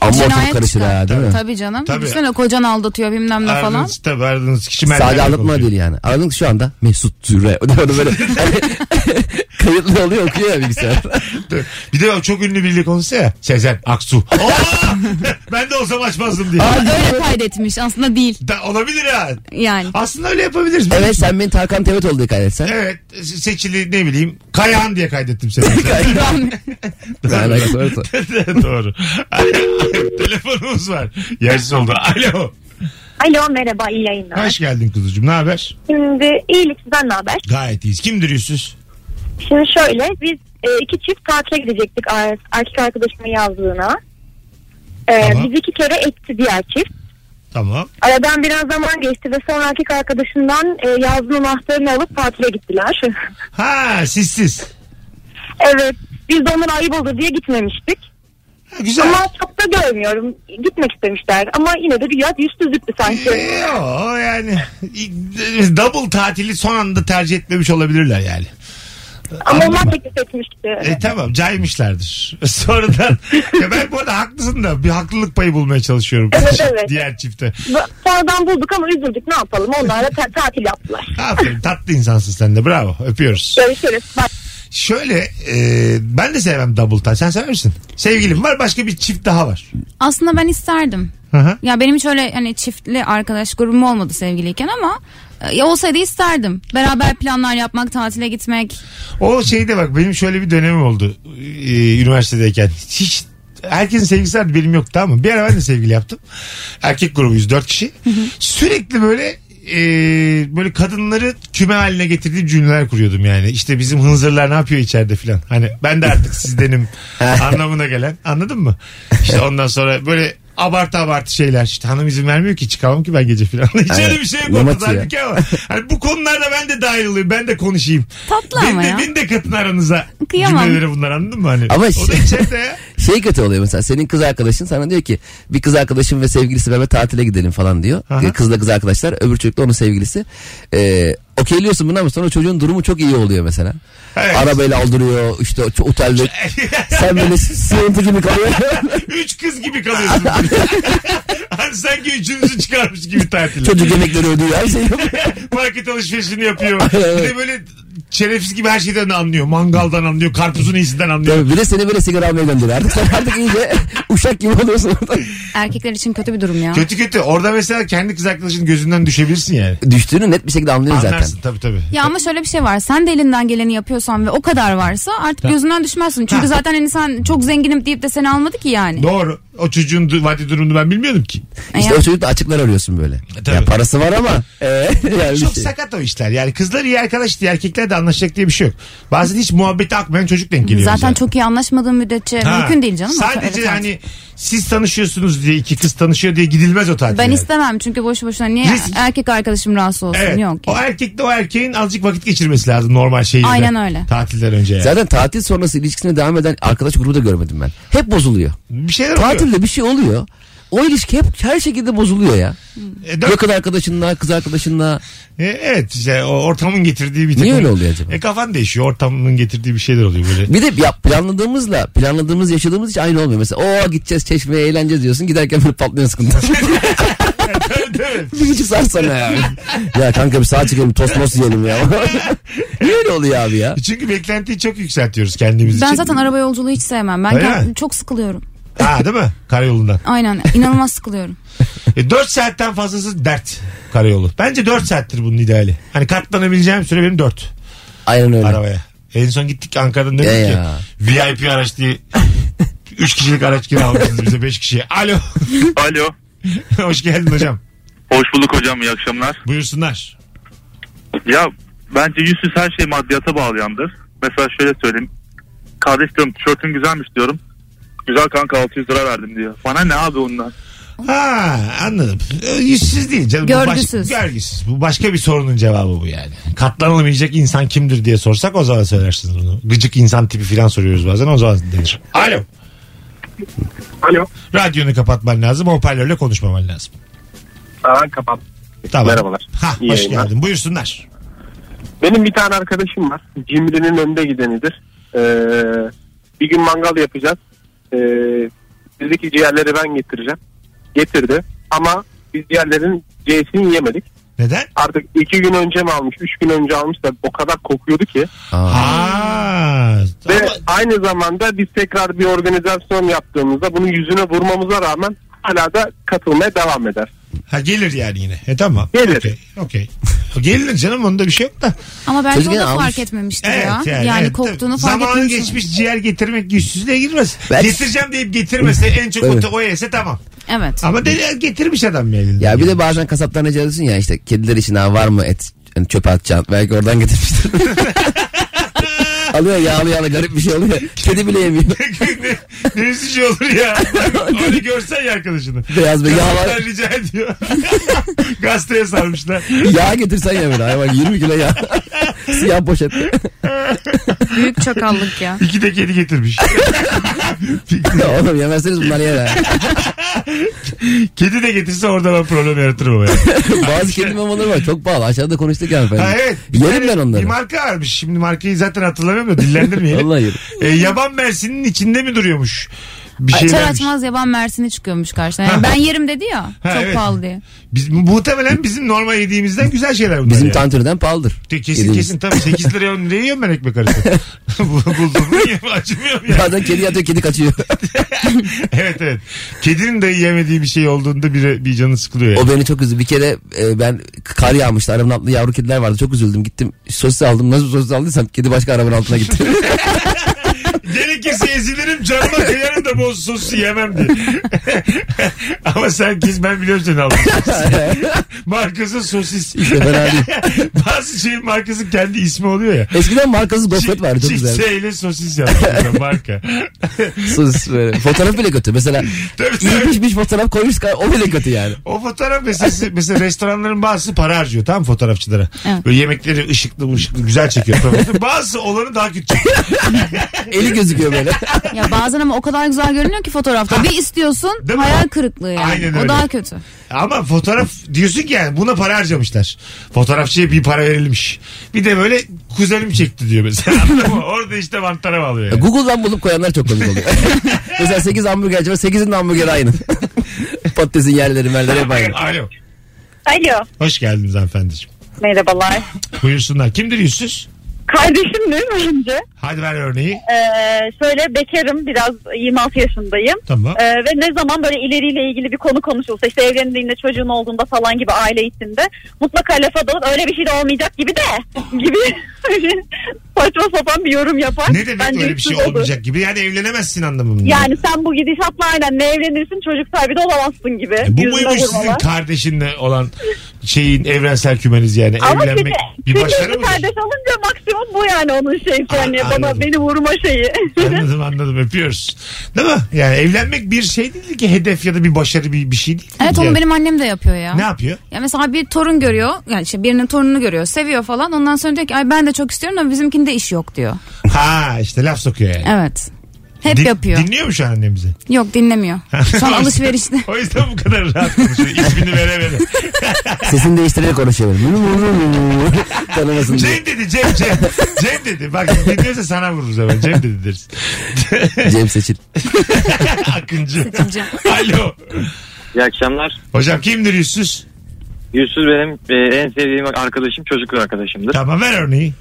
S3: Ama ortalık
S2: Cinayet
S3: karışır
S2: çıkar.
S3: ha değil mi?
S2: Tabii canım.
S3: Tabii.
S2: Düşünsene kocan aldatıyor bilmem ne falan.
S1: Aradığınız, tabii aradığınız kişi
S3: Sade
S1: merdivenle
S3: anlatma değil yani. Aradınız şu anda Mesut Süre. Onu böyle hani, kayıtlı oluyor okuyor ya bilgisayar.
S1: Dur. Bir de o çok ünlü biriyle konuşsa ya. Sezen Aksu. Aa! ben de olsam açmazdım diye.
S2: Aa, öyle kaydetmiş aslında değil.
S1: Da, olabilir ha.
S2: Yani.
S1: Aslında öyle yapabiliriz.
S3: Evet sen beni Tarkan Tevet oldu kaydetsen.
S1: Evet seçili ne bileyim Kayahan diye kaydettim seni.
S3: Doğru.
S1: Doğru. Telefonumuz var. Yersiz oldu. Alo.
S13: Alo merhaba iyi yayınlar.
S1: Hoş geldin kuzucuğum. Ne haber?
S13: Şimdi iyilik sizden ne haber?
S1: Gayet iyiyiz. Kimdir yüzsüz?
S13: Şimdi şöyle biz e, iki çift tatile gidecektik er- erkek arkadaşımın yazlığına. E,
S1: Tamam.
S13: Biz iki kere etti diğer çift.
S1: Tamam.
S13: Aradan biraz zaman geçti ve sonra erkek arkadaşından e, yazlığın anahtarını alıp tatile gittiler.
S1: Ha sizsiz.
S13: evet biz de onlara ayıp olur diye gitmemiştik.
S1: güzel.
S13: Ama çok da görmüyorum. Gitmek istemişler ama yine de bir yat yüzsüzlüktü sanki.
S1: Yo yani double tatili son anda tercih etmemiş olabilirler yani.
S13: Ama
S1: Anladın mı?
S13: onlar teklif etmişti.
S1: E tamam caymışlardır. Sonradan ya ben bu arada haklısın da bir haklılık payı bulmaya çalışıyorum.
S13: Evet, evet.
S1: Diğer çifte.
S13: Bu- Sonradan bulduk ama üzüldük ne yapalım. Onlar da ta- tatil yaptılar.
S1: Aferin tatlı insansın sen de bravo öpüyoruz.
S13: Görüşürüz. Bak.
S1: Şöyle e, ben de sevmem double tatil sen sever misin? Sevgilim var başka bir çift daha var.
S2: Aslında ben isterdim.
S1: Hı hı.
S2: Ya benim hiç öyle hani çiftli arkadaş grubum olmadı sevgiliyken ama e, ya olsaydı isterdim. Beraber planlar yapmak, tatile gitmek.
S1: O şeyde bak benim şöyle bir dönemim oldu e, üniversitedeyken. Hiç herkesin sevgilisi vardı benim yoktu ama bir ara ben de sevgili yaptım. Erkek grubu 104 kişi. Sürekli böyle e, böyle kadınları küme haline getirdiğim cümleler kuruyordum yani. İşte bizim hınzırlar ne yapıyor içeride filan. Hani ben de artık sizdenim anlamına gelen. Anladın mı? İşte ondan sonra böyle abartı abartı şeyler. İşte hanım izin vermiyor ki çıkamam ki ben gece filan. Hiç
S3: Evet.
S1: öyle bir şey yok
S3: Ne
S1: ortada
S3: maçı ya?
S1: halbuki ama. Hani bu konularda ben de dahil olayım. Ben de konuşayım.
S2: Tatlı
S1: Beni
S2: ama
S1: de,
S2: ya.
S1: beni de katın aranıza.
S2: Kıyamam.
S1: Cümleleri bunlar anladın mı? Hani,
S3: Ama
S1: o da
S3: şey-
S1: içeride ya.
S3: Şey kötü oluyor mesela senin kız arkadaşın sana diyor ki bir kız arkadaşım ve sevgilisi beraber tatile gidelim falan diyor.
S1: Aha.
S3: Kızla kız arkadaşlar öbür çocukla onun sevgilisi. Ee, okeyliyorsun bunu ama sonra çocuğun durumu çok iyi oluyor mesela.
S1: Evet.
S3: Arabayla aldırıyor işte o- otelde. Sen böyle sığıntı gibi kalıyorsun.
S1: Üç kız gibi kalıyorsun. hani sanki üçünüzü çıkarmış gibi tatil.
S3: Çocuk yemekleri ödüyor her şey yok.
S1: Market alışverişini yapıyor. Bir de böyle şerefsiz gibi her şeyden anlıyor. Mangaldan anlıyor. Karpuzun iyisinden anlıyor.
S3: Tabii bir de seni böyle sigara almaya gönderiyor. Artık sen artık iyice uşak gibi oluyorsun orada.
S2: Erkekler için kötü bir durum ya.
S1: Kötü kötü. Orada mesela kendi kız arkadaşının gözünden düşebilirsin yani.
S3: Düştüğünü net bir şekilde anlıyorsun zaten.
S1: Anlarsın tabii tabii.
S2: Ya ama şöyle bir şey var. Sen de elinden geleni yapıyorsan ve o kadar varsa artık
S1: Ha.
S2: gözünden düşmezsin. Çünkü
S1: Ha.
S2: zaten hani sen çok zenginim deyip de seni almadı ki yani.
S1: Doğru. O çocuğun du- maddi durumunu ben bilmiyordum ki.
S3: İşte o çocukla açıklar arıyorsun böyle.
S1: tabii.
S3: Ya parası var ama. e, yani bir
S1: Çok
S3: şey.
S1: sakat o işler. Yani kızlar iyi arkadaş diye erkekler de anlaşacak diye bir şey yok. Bazen hiç muhabbeti akmayan çocuk denk geliyor.
S2: Zaten
S1: bize.
S2: çok iyi anlaşmadığın müddetçe
S1: Ha,
S2: mümkün değil canım.
S1: Sadece
S2: Evet,
S1: hani siz tanışıyorsunuz diye iki kız tanışıyor diye gidilmez o tatil.
S2: Ben istemem çünkü boşu boşuna niye
S1: Risk.
S2: erkek arkadaşım rahatsız olsun
S1: Evet.
S2: yok.
S1: O erkek de o erkeğin azıcık vakit geçirmesi lazım normal şeyiyle.
S2: Aynen öyle.
S1: Tatilden önce yani.
S3: Zaten tatil sonrası ilişkisine devam eden arkadaş grubu da görmedim ben. Hep bozuluyor.
S1: Bir şeyler oluyor.
S3: Tatilde bir şey oluyor. O ilişki hep her şekilde bozuluyor ya. Yakın arkadaşınla, kız arkadaşınla.
S1: E, evet işte o ortamın getirdiği bir takım.
S3: Niye öyle oluyor acaba?
S1: E kafan değişiyor ortamın getirdiği bir şeyler oluyor böyle.
S3: Bir de ya planladığımızla planladığımız yaşadığımız hiç aynı olmuyor. Mesela o gideceğiz çeşmeye eğleneceğiz diyorsun giderken böyle patlıyor sıkıntı. bir buçuk saat sonra ya. ya kanka bir saat çekelim tost most yiyelim ya. Niye öyle oluyor abi ya?
S1: Çünkü beklentiyi çok yükseltiyoruz kendimiz
S2: Ben
S1: için.
S2: zaten araba yolculuğu hiç sevmem. Ben
S1: Öyle
S2: kendim-
S1: mi?
S2: çok sıkılıyorum.
S1: Ha değil mi? Karayolundan.
S2: Aynen inanılmaz sıkılıyorum.
S1: E, 4 saatten fazlası dert karayolu. Bence 4 saattir bunun ideali. Hani katlanabileceğim süre benim 4.
S3: Aynen öyle.
S1: Arabaya. En son gittik Ankara'dan dedik
S3: Ya
S1: ki
S3: ya.
S1: VIP araç diye 3 kişilik araç kiralamışsınız bize 5 kişiye. Alo.
S5: Alo.
S1: Hoş geldin hocam.
S5: Hoş bulduk hocam iyi akşamlar.
S1: Buyursunlar.
S5: Ya bence yüzsüz her şey maddiyata bağlayandır. Mesela şöyle söyleyeyim. Kardeş diyorum tişörtün güzelmiş diyorum. Güzel kanka 600 lira verdim diyor. Bana ne abi ondan?
S1: Ha anladım. E, Yüzsüz değil canım. Bu baş-
S2: Görgüsüz.
S1: görgüsüz. Bu başka bir sorunun cevabı bu yani. Katlanamayacak insan kimdir diye sorsak o zaman söylersiniz bunu. Gıcık insan tipi falan soruyoruz bazen o zaman denir. Alo.
S14: Alo.
S1: Radyonu kapatman lazım. Hoparlörle konuşmaman lazım.
S14: Aa, kapat.
S1: Tamam.
S14: Merhabalar.
S1: Ha,
S14: İyi
S1: hoş
S14: yayınlar.
S1: geldin. Buyursunlar.
S14: Benim bir tane arkadaşım var. Cimri'nin önde gidenidir. Ee, bir gün mangal yapacağız. Ee, bizdeki ciğerleri ben getireceğim. Getirdi. Ama biz ciğerlerin C'sini yemedik.
S1: Neden?
S14: Artık iki gün önce mi almış, üç gün önce almış da o kadar kokuyordu ki.
S1: Ha.
S14: Ve aynı zamanda biz tekrar bir organizasyon yaptığımızda bunun yüzüne vurmamıza rağmen hala da katılmaya devam eder.
S1: Ha gelir yani yine. E tamam.
S14: Gelir.
S1: Okey. okey. Gelir canım onda bir şey yok da.
S2: Ama belki
S1: Çocukken
S2: o da
S1: almış.
S2: fark etmemiştir
S1: Evet
S2: ya.
S1: yani,
S2: Yani,
S1: evet,
S2: koktuğunu
S1: tabii.
S2: fark
S1: Zamanı
S2: etmemiştir.
S1: geçmiş ciğer getirmek yüzsüzlüğe girmez.
S3: Belki-
S1: Getireceğim deyip getirmese en çok
S3: Evet.
S1: otu o yese tamam.
S2: Evet.
S1: Ama deli getirmiş adam ya elinden.
S3: Ya bir de bazen kasaptan rica ediyorsun ya işte kediler için ha var mı et hani çöpe atacağım. Belki oradan getirmiştir. alıyor yağlı yağlı garip bir şey oluyor. Kedi bile yemiyor.
S1: ne üzücü şey olur ya. Onu görsen ya arkadaşını.
S3: Beyaz bir yağ var.
S1: Gazeteden rica ediyor. Gazeteye sarmışlar.
S3: yağ getirsen yemiyor hayvan 20 kilo yağ. Siyah poşet.
S2: Büyük çakallık ya.
S1: İki de kedi getirmiş.
S3: Oğlum yemezseniz bunlar yer. ha.
S1: Kedi de getirse orada ben problem yaratırım ama. yani.
S3: Bazı kedi mamaları var çok pahalı. Aşağıda konuştuk ya efendim.
S1: Ha, evet. Bir
S3: Yerim
S1: tane-
S3: ben onları.
S1: Bir marka varmış. Şimdi markayı zaten hatırlamıyorum da dillendirmeyelim.
S3: Vallahi yerim.
S1: E, yaban mersinin içinde mi duruyormuş? Bir şey
S2: Açar
S1: vermiş.
S2: açmaz yaban mersini çıkıyormuş karşına. Yani ben yerim dedi ya.
S1: Ha,
S2: çok
S1: evet.
S2: pahalı diye.
S1: Biz, muhtemelen bizim normal yediğimizden güzel şeyler bunlar.
S3: Bizim
S1: yani.
S3: tantürden pahalıdır.
S1: Te- Kesin
S3: Yediğimiz.
S1: kesin tabii 8 liraya 10 liraya yiyorum ben ekmek arası. Bu- Buldum mu yiyeyim, acımıyorum ya.
S3: Bazen kedi yatıyor kedi kaçıyor.
S1: evet evet. Kedinin de yemediği bir şey olduğunda bir, bir canı sıkılıyor yani.
S3: O beni çok üzdü. Bir kere e, ben kar yağmıştı. Arabanın altında yavru kediler vardı. Çok üzüldüm. Gittim sosis aldım. Nasıl sosis aldıysam kedi başka arabanın altına gitti.
S1: Gerekirse ezilirim canıma kıyarım da bol sosu yemem diye. Ama sen kız ben biliyorum seni aldın. markası sosis.
S3: İşte ben abi.
S1: Bazı şeyin markası kendi ismi oluyor ya.
S3: Eskiden markasız gofret vardı. Çok güzel.
S1: Çiftseyle sosis yaptı marka.
S3: Sosis böyle. Fotoğraf bile kötü. Mesela
S1: Tabii,
S3: iyi
S1: tabii.
S3: pişmiş fotoğraf koymuş. O bile kötü yani.
S1: O fotoğraf meselesi mesela restoranların bazısı para harcıyor tamam mı fotoğrafçılara.
S2: Evet.
S1: Böyle yemekleri ışıklı ışıklı güzel çekiyor. fotoğrafı. bazısı olanı daha kötü çekiyor.
S3: Eli gözüküyor böyle.
S2: Ya bazen ama o kadar güzel görünüyor ki fotoğrafta. Bir istiyorsun
S1: Değil mi?
S2: hayal kırıklığı yani.
S1: Aynen
S2: o
S1: öyle.
S2: daha kötü.
S1: Ama fotoğraf diyorsun ki yani buna para harcamışlar. Fotoğrafçıya bir para verilmiş. Bir de böyle kuzenim çekti diyor mesela. Anladın mı? Orada işte mantara bağlıyor. Yani.
S3: Google'dan bulup koyanlar çok komik oluyor. Mesela 8 hamburgerci var. 8'in de hamburgeri aynı. Patatesin yerleri merleri hep aynı.
S1: Alo.
S13: Alo.
S1: Hoş geldiniz hanımefendiciğim.
S13: Merhabalar.
S1: Buyursunlar. Kimdir yüzsüz?
S13: Kardeşim değil mi önce?
S1: Hadi ver örneği.
S13: Ee, şöyle bekarım biraz 26 yaşındayım.
S1: Tamam.
S13: Ee, ve ne zaman böyle ileriyle ilgili bir konu konuşulsa işte evlendiğinde çocuğun olduğunda falan gibi aile içinde mutlaka lafa dalıp öyle bir şey de olmayacak gibi de gibi saçma sapan bir yorum yapar.
S1: Ne demek
S13: Bence
S1: öyle bir şey
S13: hırsız olur.
S1: olmayacak gibi? Yani evlenemezsin anlamında.
S13: Yani sen bu gidişatla aynen ne evlenirsin çocuk sahibi de olamazsın gibi.
S1: E bu
S13: Yüzüne
S1: muymuş sizin
S13: vurmalar.
S1: kardeşinle olan şeyin evrensel kümeniz yani
S13: Ama
S1: evlenmek
S13: bir,
S1: bir
S13: bir
S1: başarı mı?
S13: kardeş olunca maksimum bu yani onun şeysi. Hani
S1: anladım.
S13: baba beni vurma şeyi.
S1: Anladım anladım öpüyoruz. Değil mi? Yani evlenmek bir şey değil ki hedef ya da bir başarı bir, bir şey değil.
S2: Evet onu
S1: Yani.
S2: benim annem de yapıyor ya.
S1: Ne yapıyor?
S2: Ya mesela bir torun görüyor. Yani işte birinin torununu görüyor. Seviyor falan. Ondan sonra diyor ki ay ben de çok istiyorum ama bizimkinde iş yok diyor.
S1: Ha işte laf sokuyor yani.
S2: Evet. Hep
S1: Din-
S2: yapıyor.
S1: Dinliyor mu şu an annemizi?
S2: Yok dinlemiyor. Şu an alışverişte.
S1: o yüzden bu kadar rahat konuşuyor. İsmini veremedi.
S3: Sesini değiştirerek konuşuyor. Tanımasın diye.
S1: Cem dedi Cem Cem. Cem dedi. Bak dinliyorsa sana vururuz hemen. Cem dedi deriz.
S3: Cem Seçil.
S1: Akıncı. Alo.
S15: İyi akşamlar.
S1: Hocam kimdir yüzsüz?
S15: Yusuf benim e, en sevdiğim arkadaşım, çocukluk arkadaşımdır.
S1: Tamam ver örneği.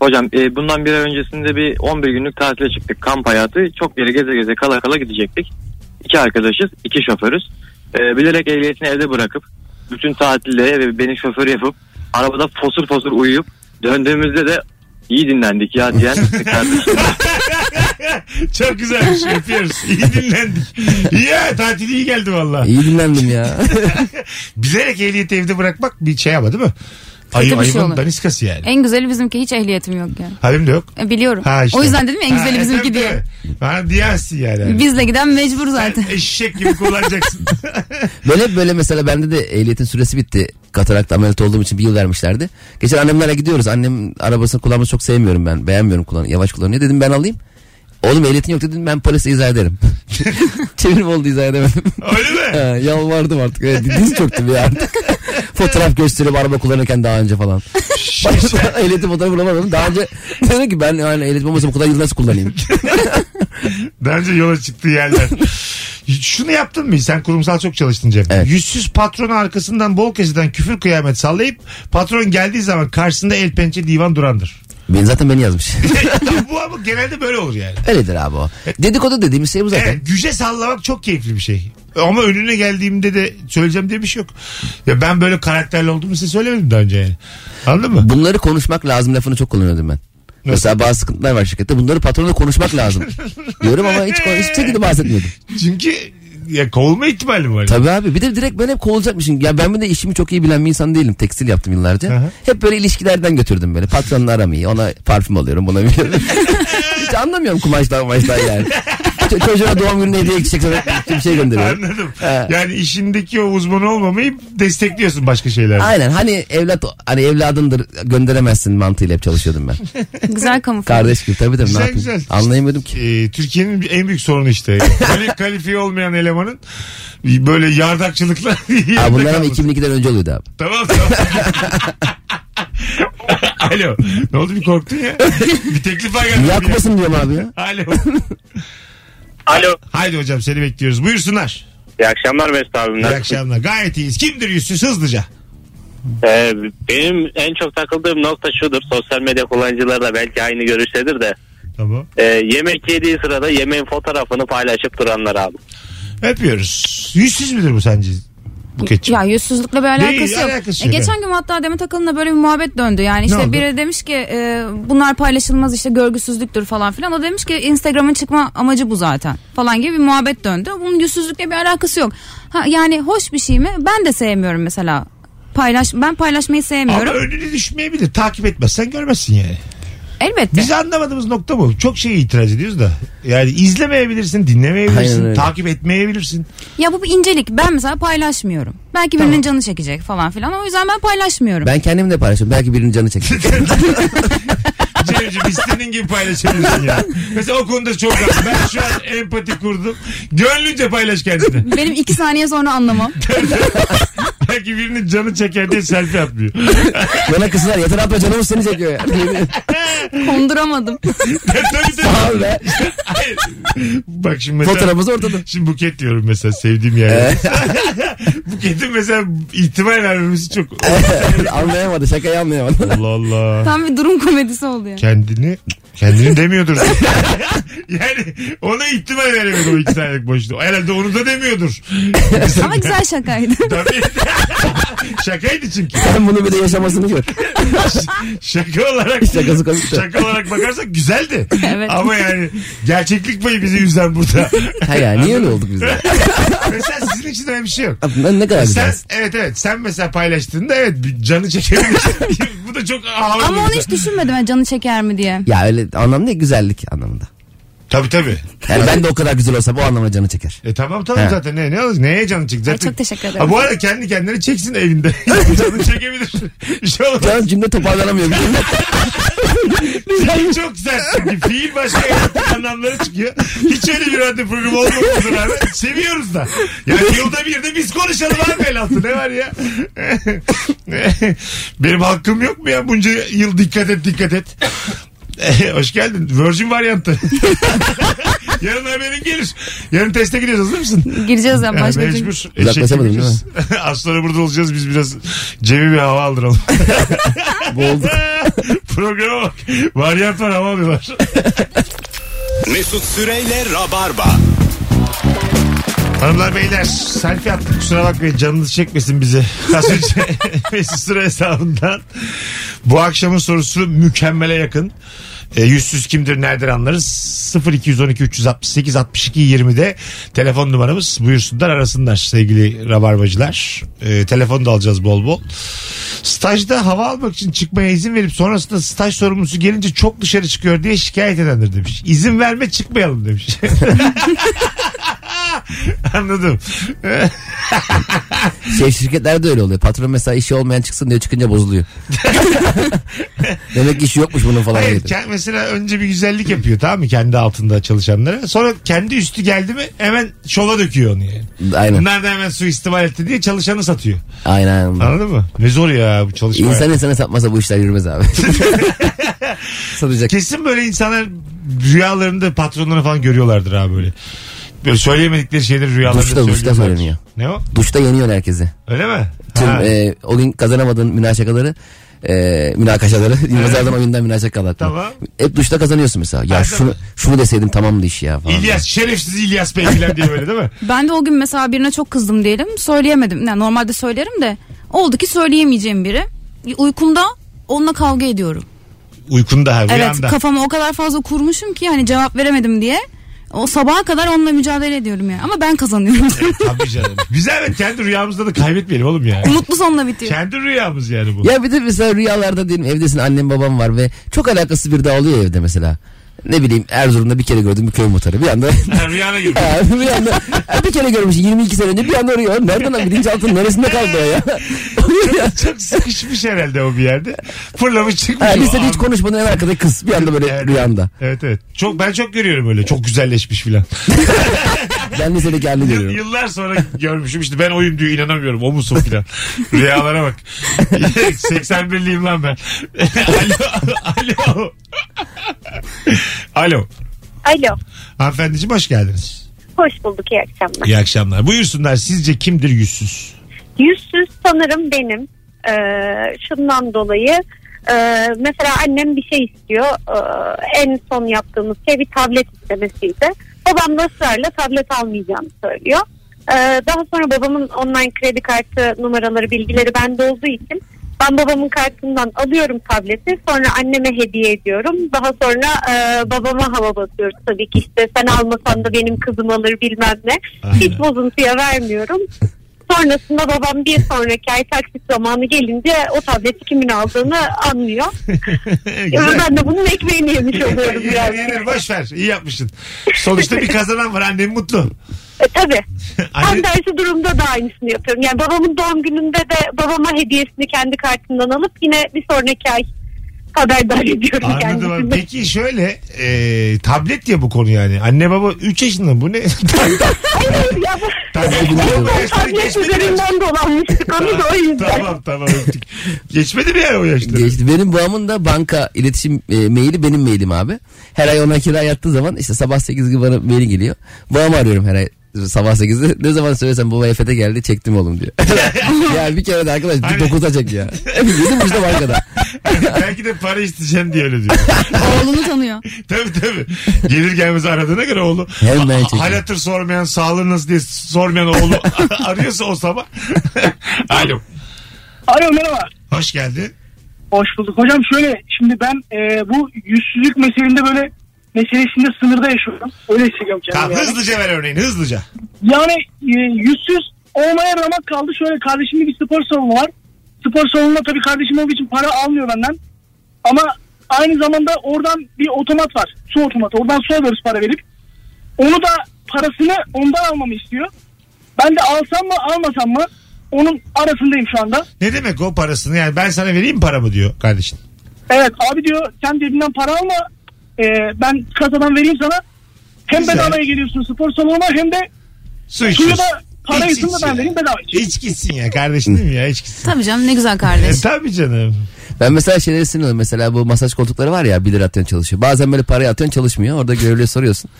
S15: Hocam e, bundan bir ay öncesinde bir 11 günlük tatile çıktık. Kamp hayatı. Çok yere geze geze kala kala gidecektik. İki arkadaşız, iki şoförüz. E, bilerek ehliyetini evde bırakıp bütün tatilde ve beni şoför yapıp arabada fosur fosur uyuyup döndüğümüzde de iyi dinlendik ya diyen kardeşim.
S1: Çok güzelmiş. Öpüyoruz. İyi dinlendik. Ya tatil iyi geldi valla.
S3: İyi dinlendim ya.
S1: Bilerek ehliyeti evde bırakmak bir şey ama değil mi?
S2: Kötü
S1: Ayı,
S2: bir şey
S1: ayıbın
S2: olur.
S1: daniskası yani.
S2: En güzeli bizimki hiç ehliyetim yok yani.
S1: Halim de yok.
S2: E, Biliyorum.
S1: Ha işte.
S2: O yüzden dedim ya en
S1: Ha,
S2: güzeli
S1: e,
S2: bizimki
S1: tabii,
S2: diye.
S1: tabii. Bana diyersin yani.
S2: Bizle giden mecbur zaten.
S1: Eşek gibi kullanacaksın.
S3: Ben hep böyle mesela bende de ehliyetin süresi bitti. Katarakt ameliyat olduğum için bir yıl vermişlerdi. Geçen annemlere gidiyoruz. Annem arabasını kullanmayı çok sevmiyorum ben. Beğenmiyorum kullan yavaş kullanıyor. Dedim ben alayım. Oğlum ehliyetin yok dedim ben polise izah ederim. Çevirim oldu izah edemedim.
S1: Öyle mi?
S3: yalvardım artık. Evet, diz çöktü bir artık. Fotoğraf gösterip araba kullanırken daha önce falan.
S1: şey.
S3: ehliyetin fotoğrafı bulamadım. Daha önce dedim ki ben yani ehliyetim olmasa bu kadar yıl nasıl kullanayım?
S1: Daha önce yola çıktığı yerler. Şunu yaptın mı? Sen kurumsal çok çalıştın Cem. Yüzsüz patronu arkasından bol keseden küfür kıyamet sallayıp patron geldiği zaman karşısında el pençe divan durandır.
S3: Ben zaten beni yazmış.
S1: Bu ama genelde böyle olur yani.
S3: Öyledir abi o. Dedikodu dediğimiz şey bu zaten.
S1: Evet, güce sallamak çok keyifli bir şey. Ama önüne geldiğimde de söyleyeceğim diye bir şey yok. Ya ben böyle karakterli olduğumu size söylemedim daha önce yani. Anladın mı?
S3: Bunları konuşmak lazım lafını çok kullanıyordum ben. Mesela bazı sıkıntılar var şirkette. Bunları patronla konuşmak lazım. Diyorum ama hiç, hiç şekilde bahsetmiyordum.
S1: Çünkü ya kovulma ihtimali var.
S3: Tabii abi. Bir de direkt ben hep kovulacakmışım. Ya ben bir de işimi çok iyi bilen bir insan değilim. Tekstil yaptım yıllarca. Hep böyle ilişkilerden götürdüm böyle. Patronla aram iyi. Ona parfüm alıyorum. Buna biliyorum. hiç anlamıyorum kumaştan kumaştan yani. Ç- çocuğa doğum gününe hediye gidecek sonra bir şey gönderiyorum.
S1: Anladım.
S3: He.
S1: Yani işindeki o uzman olmamayı destekliyorsun başka şeylerle.
S3: Aynen hani evlat hani evladındır gönderemezsin mantığıyla hep çalışıyordum ben.
S2: Güzel kamufle.
S3: Kardeş gibi tabii tabii
S1: Güzel,
S3: ne yapayım.
S1: güzel.
S3: Anlayamadım ki.
S1: Ee, Türkiye'nin en büyük sorunu işte. Böyle kalifiye olmayan elemanın böyle yardakçılıkla
S3: Aa,
S1: yerde
S3: bunlar ama
S1: kalması.
S3: 2002'den önce oluyordu abi.
S1: Tamam tamam. Alo. Ne oldu bir korktun ya? Bir teklif var geldi.
S3: Yakmasın diyorum abi ya.
S1: Alo. Alo. Haydi hocam seni bekliyoruz. Buyursunlar.
S16: İyi akşamlar Mesut abim.
S1: İyi
S16: Nasılsın?
S1: akşamlar. Gayet iyiyiz. Kimdir yüzsüz hızlıca?
S16: Ee, benim en çok takıldığım nokta şudur. Sosyal medya kullanıcıları da belki aynı görüştedir de.
S1: Tamam.
S16: Ee, yemek yediği sırada yemeğin fotoğrafını paylaşıp duranlar abi.
S1: Öpüyoruz. Yüzsüz müdür bu sence? Buketçi.
S2: Ya yüzsüzlükle bir alakası
S1: Değil,
S2: yok.
S1: alakası
S2: E,
S1: yok,
S2: geçen
S1: evet.
S2: gün hatta Demet Akalın'la böyle bir muhabbet döndü. Yani
S1: Ne
S2: işte
S1: oldu?
S2: biri demiş ki e, bunlar paylaşılmaz işte görgüsüzlüktür falan filan. O demiş ki Instagram'ın çıkma amacı bu zaten falan gibi bir muhabbet döndü. Bunun yüzsüzlükle bir alakası yok. Ha, yani hoş bir şey mi? Ben de sevmiyorum mesela. Paylaş ben paylaşmayı sevmiyorum.
S1: Ama önüne düşmeyebilir. Takip etmezsen görmezsin yani.
S2: Elbette.
S1: Biz anlamadığımız nokta bu. Çok şeye itiraz ediyoruz da. Yani izlemeyebilirsin,
S3: Aynen
S1: dinlemeyebilirsin,
S3: öyle.
S1: takip etmeyebilirsin.
S2: Ya bu bir incelik. Ben mesela paylaşmıyorum. Belki birinin
S3: Tamam.
S2: canı çekecek falan filan. O yüzden ben paylaşmıyorum.
S3: Ben kendim de paylaşıyorum. Belki birinin canı çeker.
S1: Cemciğim istediğin gibi paylaşabilirsin ya. Mesela o konuda çok rahat. Ben şu an empati kurdum. Gönlünce paylaş kendini.
S2: Benim iki saniye sonra anlamam.
S1: Belki birinin canı çeker diye selfie atmıyor.
S3: Bana kızlar yeter abla canımız seni çekiyor ya.
S2: Konduramadım.
S1: tabii tabii.
S3: Sağ ol be.
S1: Hayır. Bak şimdi mesela.
S3: Fotoğrafımız ortada.
S1: Şimdi buket diyorum mesela sevdiğim yerde. Buketin mesela ihtimal vermemesi çok.
S3: anlayamadı şakayı anlayamadı.
S1: Allah Allah.
S2: Tam bir durum komedisi oldu yani.
S1: Kendini Kendini demiyordur. yani ona ihtimal veremedim o iki senelik boşluğu. Herhalde onu da demiyordur.
S2: Ama güzel şakaydı.
S1: Şakaydı çünkü.
S3: Sen bunu bir de yaşamasını gör.
S1: Şaka olarak
S3: Şakası komik de.
S1: şaka olarak bakarsak güzeldi.
S3: Evet.
S1: Ama yani gerçeklik payı bizi üzen burada.
S3: Ha ya niye öyle olduk biz de?
S1: mesela sizin için öyle bir şey yok.
S3: Ne kadar
S1: Sen,
S3: güzel.
S1: evet evet sen mesela paylaştığında evet bir canı çekebilir. Bu da çok ağır.
S2: Ama onu hiç düşünmedim ben canı çeker mi diye.
S3: Ya öyle anlamda değil, güzellik anlamında.
S1: Tabii tabii.
S3: Yani ben de o kadar güzel olsam o anlamda canı çeker.
S1: E tamam tamam
S3: He.
S1: zaten ne ne olur neye canı çekecek?
S2: çok teşekkür ederim.
S1: Ha, bu arada kendi kendine çeksin evinde. canı çekebilir. Bir şey olmaz.
S3: Can cümle toparlanamıyor.
S1: Fiil çok güzel çünkü fiil başka yaratık anlamları çıkıyor. Hiç öyle bir radyo programı olmamasına rağmen seviyoruz da. Yani yılda bir de biz konuşalım abi el altı ne var ya. Benim hakkım yok mu ya bunca yıl dikkat et dikkat et. Hoş geldin. Virgin varyantı. Yarın haberin gelir. Yarın teste gidiyoruz hazır mısın?
S2: Gireceğiz ya başka bir- şey-
S1: Mecbur.
S3: Uzaklaşamadım, değil mi?
S1: Eşek gibi. Az sonra burada olacağız biz biraz Cem'i bir hava aldıralım.
S3: Boğulduk.
S1: Programa bak. Varyant var hava bir var.
S9: Mesut Süreyle Rabarba.
S1: Hanımlar beyler selfie attık kusura bakmayın canınız çekmesin bizi. Az önce Mesut Süre hesabından bu akşamın sorusu mükemmele yakın. E, yüzsüz kimdir nereden anlarız? 0212 368 62 20'de telefon numaramız. Buyursunlar arasınlar sevgili rabarbacılar. E, telefon da alacağız bol bol. Stajda hava almak için çıkmaya izin verip sonrasında staj sorumlusu gelince çok dışarı çıkıyor diye şikayet edendir demiş. İzin verme çıkmayalım demiş. Anladım.
S3: Şey şirketlerde öyle oluyor. Patron mesela işi olmayan çıksın diyor çıkınca bozuluyor. Demek ki işi yokmuş bunun falan.
S1: Hayır
S3: dedi.
S1: ke- mesela önce bir güzellik yapıyor tamam mı kendi altında çalışanlara. Sonra kendi üstü geldi mi hemen şova döküyor onu yani.
S3: Aynen.
S1: Bunlar da hemen suistimal etti diye çalışanı satıyor.
S3: Aynen.
S1: Anladın mı? Ne zor ya bu çalışma.
S3: İnsan insana satmasa bu işler yürümez abi. Satacak.
S1: Kesin böyle insanlar rüyalarında patronlarını falan görüyorlardır abi böyle. Böyle söyleyemedikleri şeyleri rüyalarında
S3: Duşta duşta
S1: söylüyorlar.
S3: söyleniyor.
S1: Ne o?
S3: Duşta yeniyor herkesi.
S1: Öyle mi?
S3: Tüm
S1: Ha.
S3: e, o gün kazanamadığın münaşakaları e, münakaşaları. Yılmaz Erdoğan oyundan münakaşa atma.
S1: Tamam.
S3: Hep duşta kazanıyorsun mesela. Ya
S1: Ha,
S3: şunu, şunu deseydim tamamdı iş ya falan.
S1: İlyas şerefsiz İlyas Bey falan diye böyle değil mi?
S2: Ben de o gün mesela birine çok kızdım diyelim. Söyleyemedim. Yani normalde söylerim de. Oldu ki söyleyemeyeceğim biri. E, Uykumda onunla kavga ediyorum.
S1: Uykunda ha rüyanda.
S2: Evet kafamı o kadar fazla kurmuşum ki yani cevap veremedim diye. O sabaha kadar onunla mücadele ediyorum yani. Ama ben kazanıyorum.
S1: Tabii canım. Biz evet kendi rüyamızda da kaybetmeyelim oğlum ya.
S2: Mutlu sonla bitiyor.
S1: Kendi rüyamız yani bu.
S3: Ya bir de mesela rüyalarda diyelim evdesin annem babam var ve çok alakasız bir dağ oluyor ya evde mesela. Ne bileyim Erzurum'da bir kere gördüm bir köy muhtarı. Bir anda
S1: Ha, Rüyana girdi.
S3: Ha, bir anda ha, bir kere görmüş 22 sene önce bir anda arıyor. Nereden lan bilinçaltının neresinde kaldı o ya?
S1: Çok sıkışmış herhalde o bir yerde. Fırlamış çıkmış.
S3: ha,
S1: o
S3: lisede
S1: an.
S3: hiç konuşmadığın en arkada kız bir anda böyle rüyamda.
S1: Evet evet. Çok ben çok görüyorum öyle. Çok güzelleşmiş filan.
S3: Ben lisedeki halini görüyorum.
S1: Yıllar sonra görmüşüm işte ben oyum diyor inanamıyorum. O musun filan. Rüyalara bak. 81'liyim lan ben. alo. Alo. alo.
S13: Alo.
S1: Hanımefendiciğim hoş geldiniz.
S13: Hoş bulduk iyi akşamlar.
S1: İyi akşamlar. Buyursunlar sizce kimdir yüzsüz?
S13: Yüzsüz sanırım benim. Ee, şundan dolayı e, mesela annem bir şey istiyor. Ee, en son yaptığımız şey bir tablet istemesiydi. Babam da ısrarla tablet almayacağını söylüyor. Ee, daha sonra babamın online kredi kartı numaraları bilgileri bende olduğu için ben babamın kartından alıyorum tableti sonra anneme hediye ediyorum. Daha sonra e, babama hava basıyoruz tabii ki işte sen almasan da benim kızım alır bilmem ne. Hiç bozuntuya vermiyorum. Sonrasında babam bir sonraki ay taksit zamanı gelince o tableti kimin aldığını anlıyor.
S1: Güzel.
S13: ben de bunun ekmeğini yemiş oluyorum
S1: Yenir
S13: biraz.
S1: yenir boş ver. İyi yapmışsın. Sonuçta bir kazanan var. Annem mutlu.
S13: E, tabii.
S1: Anne-
S13: Tam tersi durumda da aynısını yapıyorum. Yani babamın doğum gününde de babama hediyesini kendi kartından alıp yine bir sonraki ay haberdar ediyorum
S1: Anladım abi.
S13: kendisini.
S1: Peki şöyle e, tablet ya bu konu yani. Anne baba 3 yaşında mı? bu ne?
S13: Hayır ya bu
S1: Tablet-
S13: bu
S1: Yaşları
S13: tablet
S1: geçmedi mi?
S13: üzerinden dolanmıştık onu da o yüzden.
S1: tamam tamam öptük. Geçmedi mi yani o yaşta?
S3: Geçti. Benim babamın da banka iletişim e, maili benim mailim abi. Her ay ona kira yattığı zaman işte sabah 8 gibi bana maili geliyor. Babamı arıyorum her ay sabah 8'de ne zaman söylesem baba EFT geldi çektim oğlum diyor. ya bir kere de arkadaş bir 9'a çek ya. Bizim işte bankada.
S1: Belki de para isteyeceğim diye öyle diyor.
S2: Oğlunu tanıyor.
S1: tabii tabii. Gelir gelmez aradığına göre oğlu.
S3: Hemen
S1: Ha-
S3: çekiyor.
S1: Hal hatır sormayan sağlığı nasıl diye sormayan oğlu arıyorsa o sabah. Alo.
S17: Alo merhaba.
S1: Hoş geldin.
S17: Hoş bulduk. Hocam şöyle şimdi ben e, bu yüzsüzlük meselinde böyle meselesinde sınırda yaşıyorum. Öyle hissediyorum kendimi.
S1: Tamam,
S17: yani.
S1: hızlıca ver örneğini hızlıca.
S17: Yani e, yüzsüz olmaya ramak kaldı. Şöyle kardeşimin bir spor salonu var. Spor salonuna tabii kardeşim olduğu için para almıyor benden. Ama aynı zamanda oradan bir otomat var. Su otomatı. Oradan su alıyoruz para verip. Onu da parasını ondan almamı istiyor. Ben de alsam mı almasam mı onun arasındayım şu anda.
S1: Ne demek o parasını yani ben sana vereyim mi paramı diyor kardeşin.
S17: Evet abi diyor sen cebinden para alma e, ben kasadan vereyim sana. Hem
S1: Güzel.
S17: bedavaya geliyorsun spor salonuna hem de
S1: Su
S17: suyu
S1: içiyorsun.
S17: da parayı da ben vereyim bedava.
S1: İç gitsin ya kardeşin değil mi ya iç gitsin.
S2: Tabii canım ne güzel kardeş.
S1: E, tabii canım.
S3: Ben mesela şeyleri sinirliyim. Mesela bu masaj koltukları var ya 1 lira atıyorsun çalışıyor. Bazen böyle parayı atıyorsun çalışmıyor. Orada görevliye soruyorsun.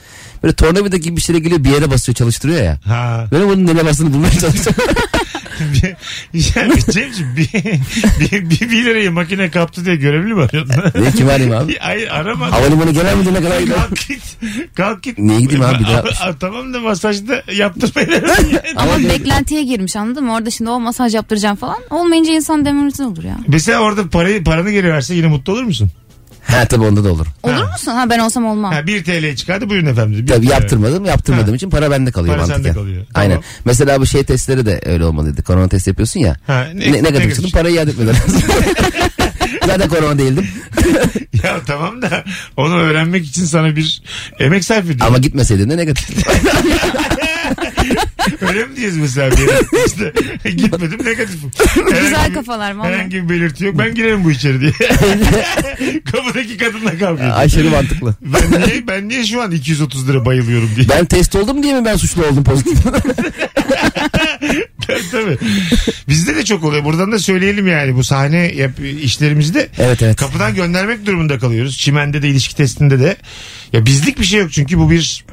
S3: Böyle tornavida gibi bir şeyle geliyor bir yere basıyor çalıştırıyor ya.
S1: Ha.
S3: Böyle bunun nereye bastığını bulmaya çalışıyorum.
S1: Yani Cemciğim bir, bir, bir, bir lirayı makine kaptı diye görevli mi arıyordun?
S3: Ne, kim arayayım abi?
S1: Hayır arama.
S3: Havalimanı genel müdürüne kadar gidiyor.
S1: Kalk git. Kalk git.
S3: Niye gideyim abi? Bir daha-
S1: A- a- tamam da masajda yaptırmayın.
S2: Ama beklentiye girmiş anladın mı? Orada şimdi o masaj yaptıracağım falan. Olmayınca insan demoralize olur ya.
S1: Mesela orada parayı paranı geri verse yine mutlu olur musun?
S3: ha tabii onda da olur.
S2: Olur musun? Ha ben olsam olmam.
S1: Ha, 1 TL'ye E, çıkardı buyurun efendim. Bir
S3: Tabii
S1: TL.
S3: yaptırmadım. Yaptırmadığım
S1: Ha.
S3: için para bende kalıyor
S1: Para sende
S3: mantıken.
S1: kalıyor.
S3: Aynen.
S1: Tamam.
S3: Mesela bu şey testleri de öyle olmalıydı. Korona testi yapıyorsun ya.
S1: Ha, ne-
S3: ne, ne, kadar
S1: ne
S3: çıktın? Parayı iade etmeden lazım. Zaten korona değildim.
S1: Ya tamam da onu öğrenmek için sana bir emek sarf ediyor.
S3: Ama gitmeseydin de negatif.
S1: Öyle mi diyoruz mesela bir yere? İşte gitmedim negatifim.
S2: Güzel
S1: Herhangi-
S2: kafalar vallahi.
S1: Herhangi bir belirti yok. Ben girerim bu içeri diye. Kapıdaki kadınla kavga ediyor.
S3: Aşırı mantıklı.
S1: Ben niye, ben niye şu an 230 lira bayılıyorum diye.
S3: Ben test oldum diye mi ben suçlu oldum pozitif?
S1: Tabii. Bizde de çok oluyor. Buradan da söyleyelim yani bu sahne yap- işlerimizde
S3: Evet, evet.
S1: kapıdan göndermek durumunda kalıyoruz. Çimende de ilişki testinde de. Ya bizlik bir şey yok çünkü bu bir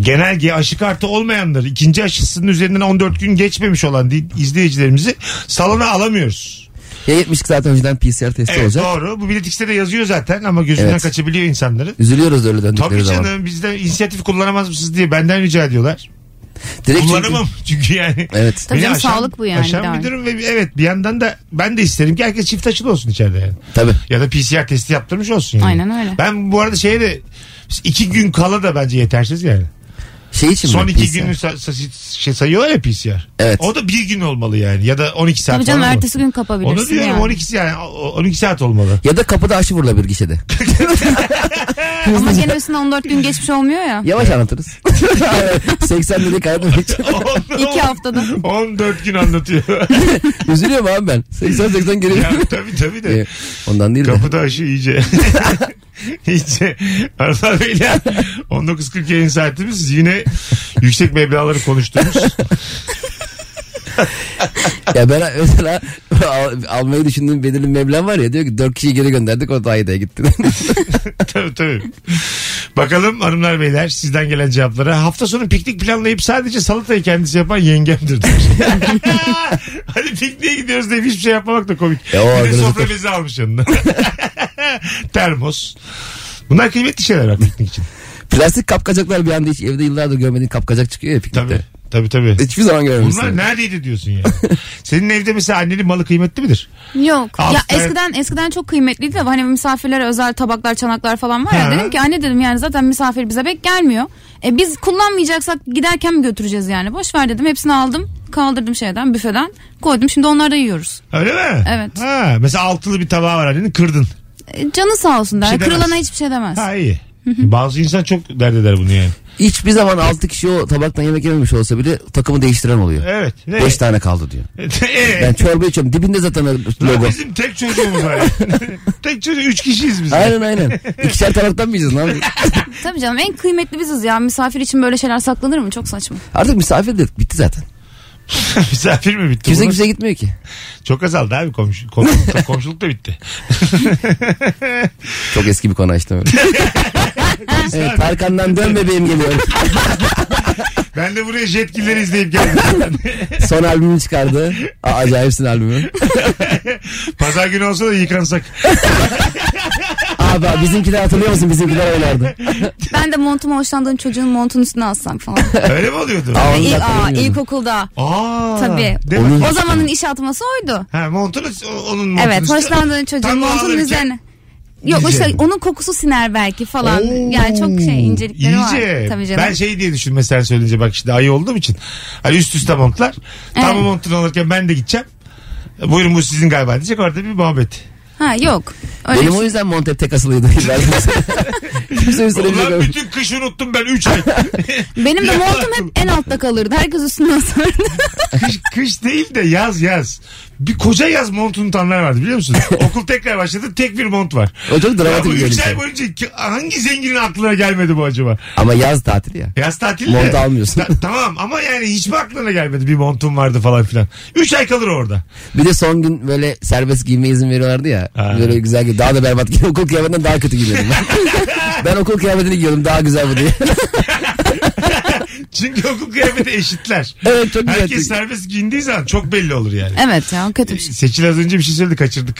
S1: genelge aşı kartı olmayanlar ikinci aşısının üzerinden 14 gün geçmemiş olan di- izleyicilerimizi salona alamıyoruz.
S3: ya 72 saat önceden PCR testi
S1: Evet
S3: olacak.
S1: doğru. Bu bilet X'te de yazıyor zaten ama gözünden
S3: Evet.
S1: kaçabiliyor insanların.
S3: Üzülüyoruz öyle döndükleri
S1: Tabii
S3: zaman.
S1: canım bizden inisiyatif kullanamaz mısınız diye benden rica ediyorlar.
S3: Direkt
S1: Kullanamam çünkü, yani.
S3: Evet.
S2: Tabii
S1: Beni
S2: canım, sağlık bu yani,
S1: Aşan
S2: bir daha.
S1: bir durum ve bir- evet bir yandan da ben de isterim ki herkes çift aşılı olsun içeride yani.
S3: Tabii.
S1: Ya da PCR testi yaptırmış olsun yani.
S2: Aynen öyle.
S1: Ben bu arada şeye de iki gün kala da bence yetersiz yani.
S3: Şey için
S1: Son
S3: mi?
S1: iki
S3: PCR?
S1: günü sa- sa- şey sayıyorlar ya PCR.
S3: Evet.
S1: O da bir gün olmalı yani ya da 12 saat
S2: Tabii canım
S1: falan mı?
S2: ertesi gün kapabilirsin
S1: Onu diyorum
S2: yani.
S1: 12 yani o- 12 saat olmalı.
S3: Ya da kapıda aşı vurulabilir gişede.
S2: Ama gene üstüne 14 gün geçmiş olmuyor ya.
S3: Yavaş anlatırız. 80 lirayı kaybetmek için.
S2: İki haftada.
S1: 14 gün anlatıyor.
S3: Üzülüyorum abi ben. 80-80
S1: ya,
S3: geliyor.
S1: tabii tabii de.
S3: Ee, Ondan değil de.
S1: Kapıda aşı iyice. iyice. Arada beyler 19.40 yayın saatimiz yine yüksek meblaları konuştuğumuz.
S3: Ya ben mesela al- almayı düşündüğüm belirli meblağ var ya diyor ki 4 kişiyi geri gönderdik o da Ayda'ya gitti.
S1: tabii tabii. Bakalım hanımlar beyler sizden gelen cevaplara. Hafta sonu piknik planlayıp sadece salatayı kendisi yapan yengemdir. demiş. Hadi pikniğe gidiyoruz diye hiçbir şey yapmamak da komik.
S3: E, o
S1: bir de
S3: organizatör.
S1: sofra bezi almış yanına. Termos. Bunlar kıymetli şeyler bak piknik için.
S3: Plastik kapkacaklar bir anda hiç evde yıllardır görmediğin kapkacak çıkıyor ya piknikte.
S1: Tabii. Tabii tabii.
S3: Hiçbir zaman görmemişsin.
S1: Bunlar neredeydi diyorsun yani. Senin evde mesela annenin malı kıymetli midir?
S2: Yok.
S1: Altı
S2: ya
S1: tane-
S2: eskiden eskiden çok kıymetliydi de hani misafirlere özel tabaklar, çanaklar falan var ya.
S1: Ha.
S2: Dedim ki anne dedim yani zaten misafir bize bek gelmiyor. E biz kullanmayacaksak giderken mi götüreceğiz yani? Boş ver dedim. Hepsini aldım. Kaldırdım şeyden, büfeden. Koydum. Şimdi onları da yiyoruz.
S1: Öyle mi?
S2: Evet.
S1: Ha, mesela altılı bir tabağı var annenin kırdın.
S2: E, canı sağ olsun der.
S1: şey demez.
S2: Kırılana hiçbir şey demez.
S1: Ha iyi. Bazı insan çok dert eder bunu yani.
S3: Hiçbir zaman 6 kişi o tabaktan yemek yememiş olsa bile takımı değiştiren oluyor.
S1: Evet. Ne?
S3: 5 tane kaldı diyor.
S1: Ee,
S3: Ben çorba içiyorum dibinde zaten
S1: lan
S3: logo.
S1: bizim tek çocuğumuz var. tek çocuğu üç kişiyiz biz.
S3: Aynen aynen. İkişer taraftan mı yiyeceğiz lan?
S2: Tabii canım en kıymetli biziz ya. Misafir için böyle şeyler saklanır mı? Çok saçma.
S3: Artık misafir de bitti zaten.
S1: Misafir mi bitti?
S3: Kimse
S1: Bunun-
S3: kimse gitmiyor ki.
S1: Çok azaldı abi komşu, komşuluk, da, komşuluk da şey. bitti.
S3: Çok eski bir konu açtım öyle. evet, Tarkan'dan dön bebeğim geliyor.
S1: Ben de buraya Jetgilleri izleyip geldim.
S3: Son albümünü çıkardı. A- acayipsin albümü.
S1: Pazar günü olsa da yıkansak.
S3: Abi abi, bizimkiler hatırlıyor musun? Bizimkiler oynardı.
S2: Ben de montumu hoşlandığım çocuğun montunun üstüne alsam falan.
S1: Öyle mi oluyordu?
S2: Aa, ilk, aa, ilkokulda.
S1: Aa,
S2: Tabii.
S1: değil mi?
S2: O zamanın iş atması oydu.
S1: Ha montunu onun montunu.
S2: evet
S1: işte-
S2: hoşlandığın çocuğun
S1: Tam
S2: montunun
S1: ağlarken
S2: üzerine. Yok
S1: Yiyeceğim.
S2: işte onun kokusu siner belki falan. Yani çok şey
S3: Hmm.
S2: incelikleri var.
S1: İyice.
S2: Tabii canım.
S1: ben şey diye düşünme sen söyleyince bak işte ayı olduğum için. Hani üst üste montlar. Tam o montunu alırken ben de gideceğim. Buyurun bu sizin galiba diyecek orada bir muhabbet.
S2: Ha yok. Öyle
S3: Benim
S2: bir
S3: o
S2: şey-
S3: yüzden Montep tek asılıydı. Ben- Kimse üstüne bir şey
S1: Ulan
S3: koymadı.
S1: bütün kış unuttum ben 3 ay.
S2: Benim de
S1: Ya.
S2: montum hep en altta kalırdı. Herkes üstüne asardı.
S1: kış, kış değil de yaz yaz. Bir koca yaz montunu unutanlar vardı biliyor musun? Okul tekrar başladı tek bir mont var.
S3: O çok dramatik
S1: Ya bu
S3: bir
S1: üç
S3: görüntü.
S1: ay boyunca ki- hangi zenginin aklına gelmedi bu acaba?
S3: Ama yaz tatili ya.
S1: Yaz tatili
S3: Mont
S1: de.
S3: almıyorsun.
S1: Ta- tamam ama yani hiç mi aklına gelmedi bir montum vardı falan filan. 3 ay kalır orada.
S3: Bir de son gün böyle serbest giyme izin veriyorlardı ya. Böyle güzel gibi. Daha da berbat gibi. Okul kıyafetinden daha kötü giyiyordum ben. ben okul kıyafetini giyiyordum daha güzel bu diye.
S1: Çünkü okul kıyafeti eşitler.
S3: Evet, çok güzel.
S1: Herkes serbest giyindiği zaman çok belli olur yani.
S2: evet ya kötü bir şey.
S1: Seçil az önce bir şey söyledi kaçırdık.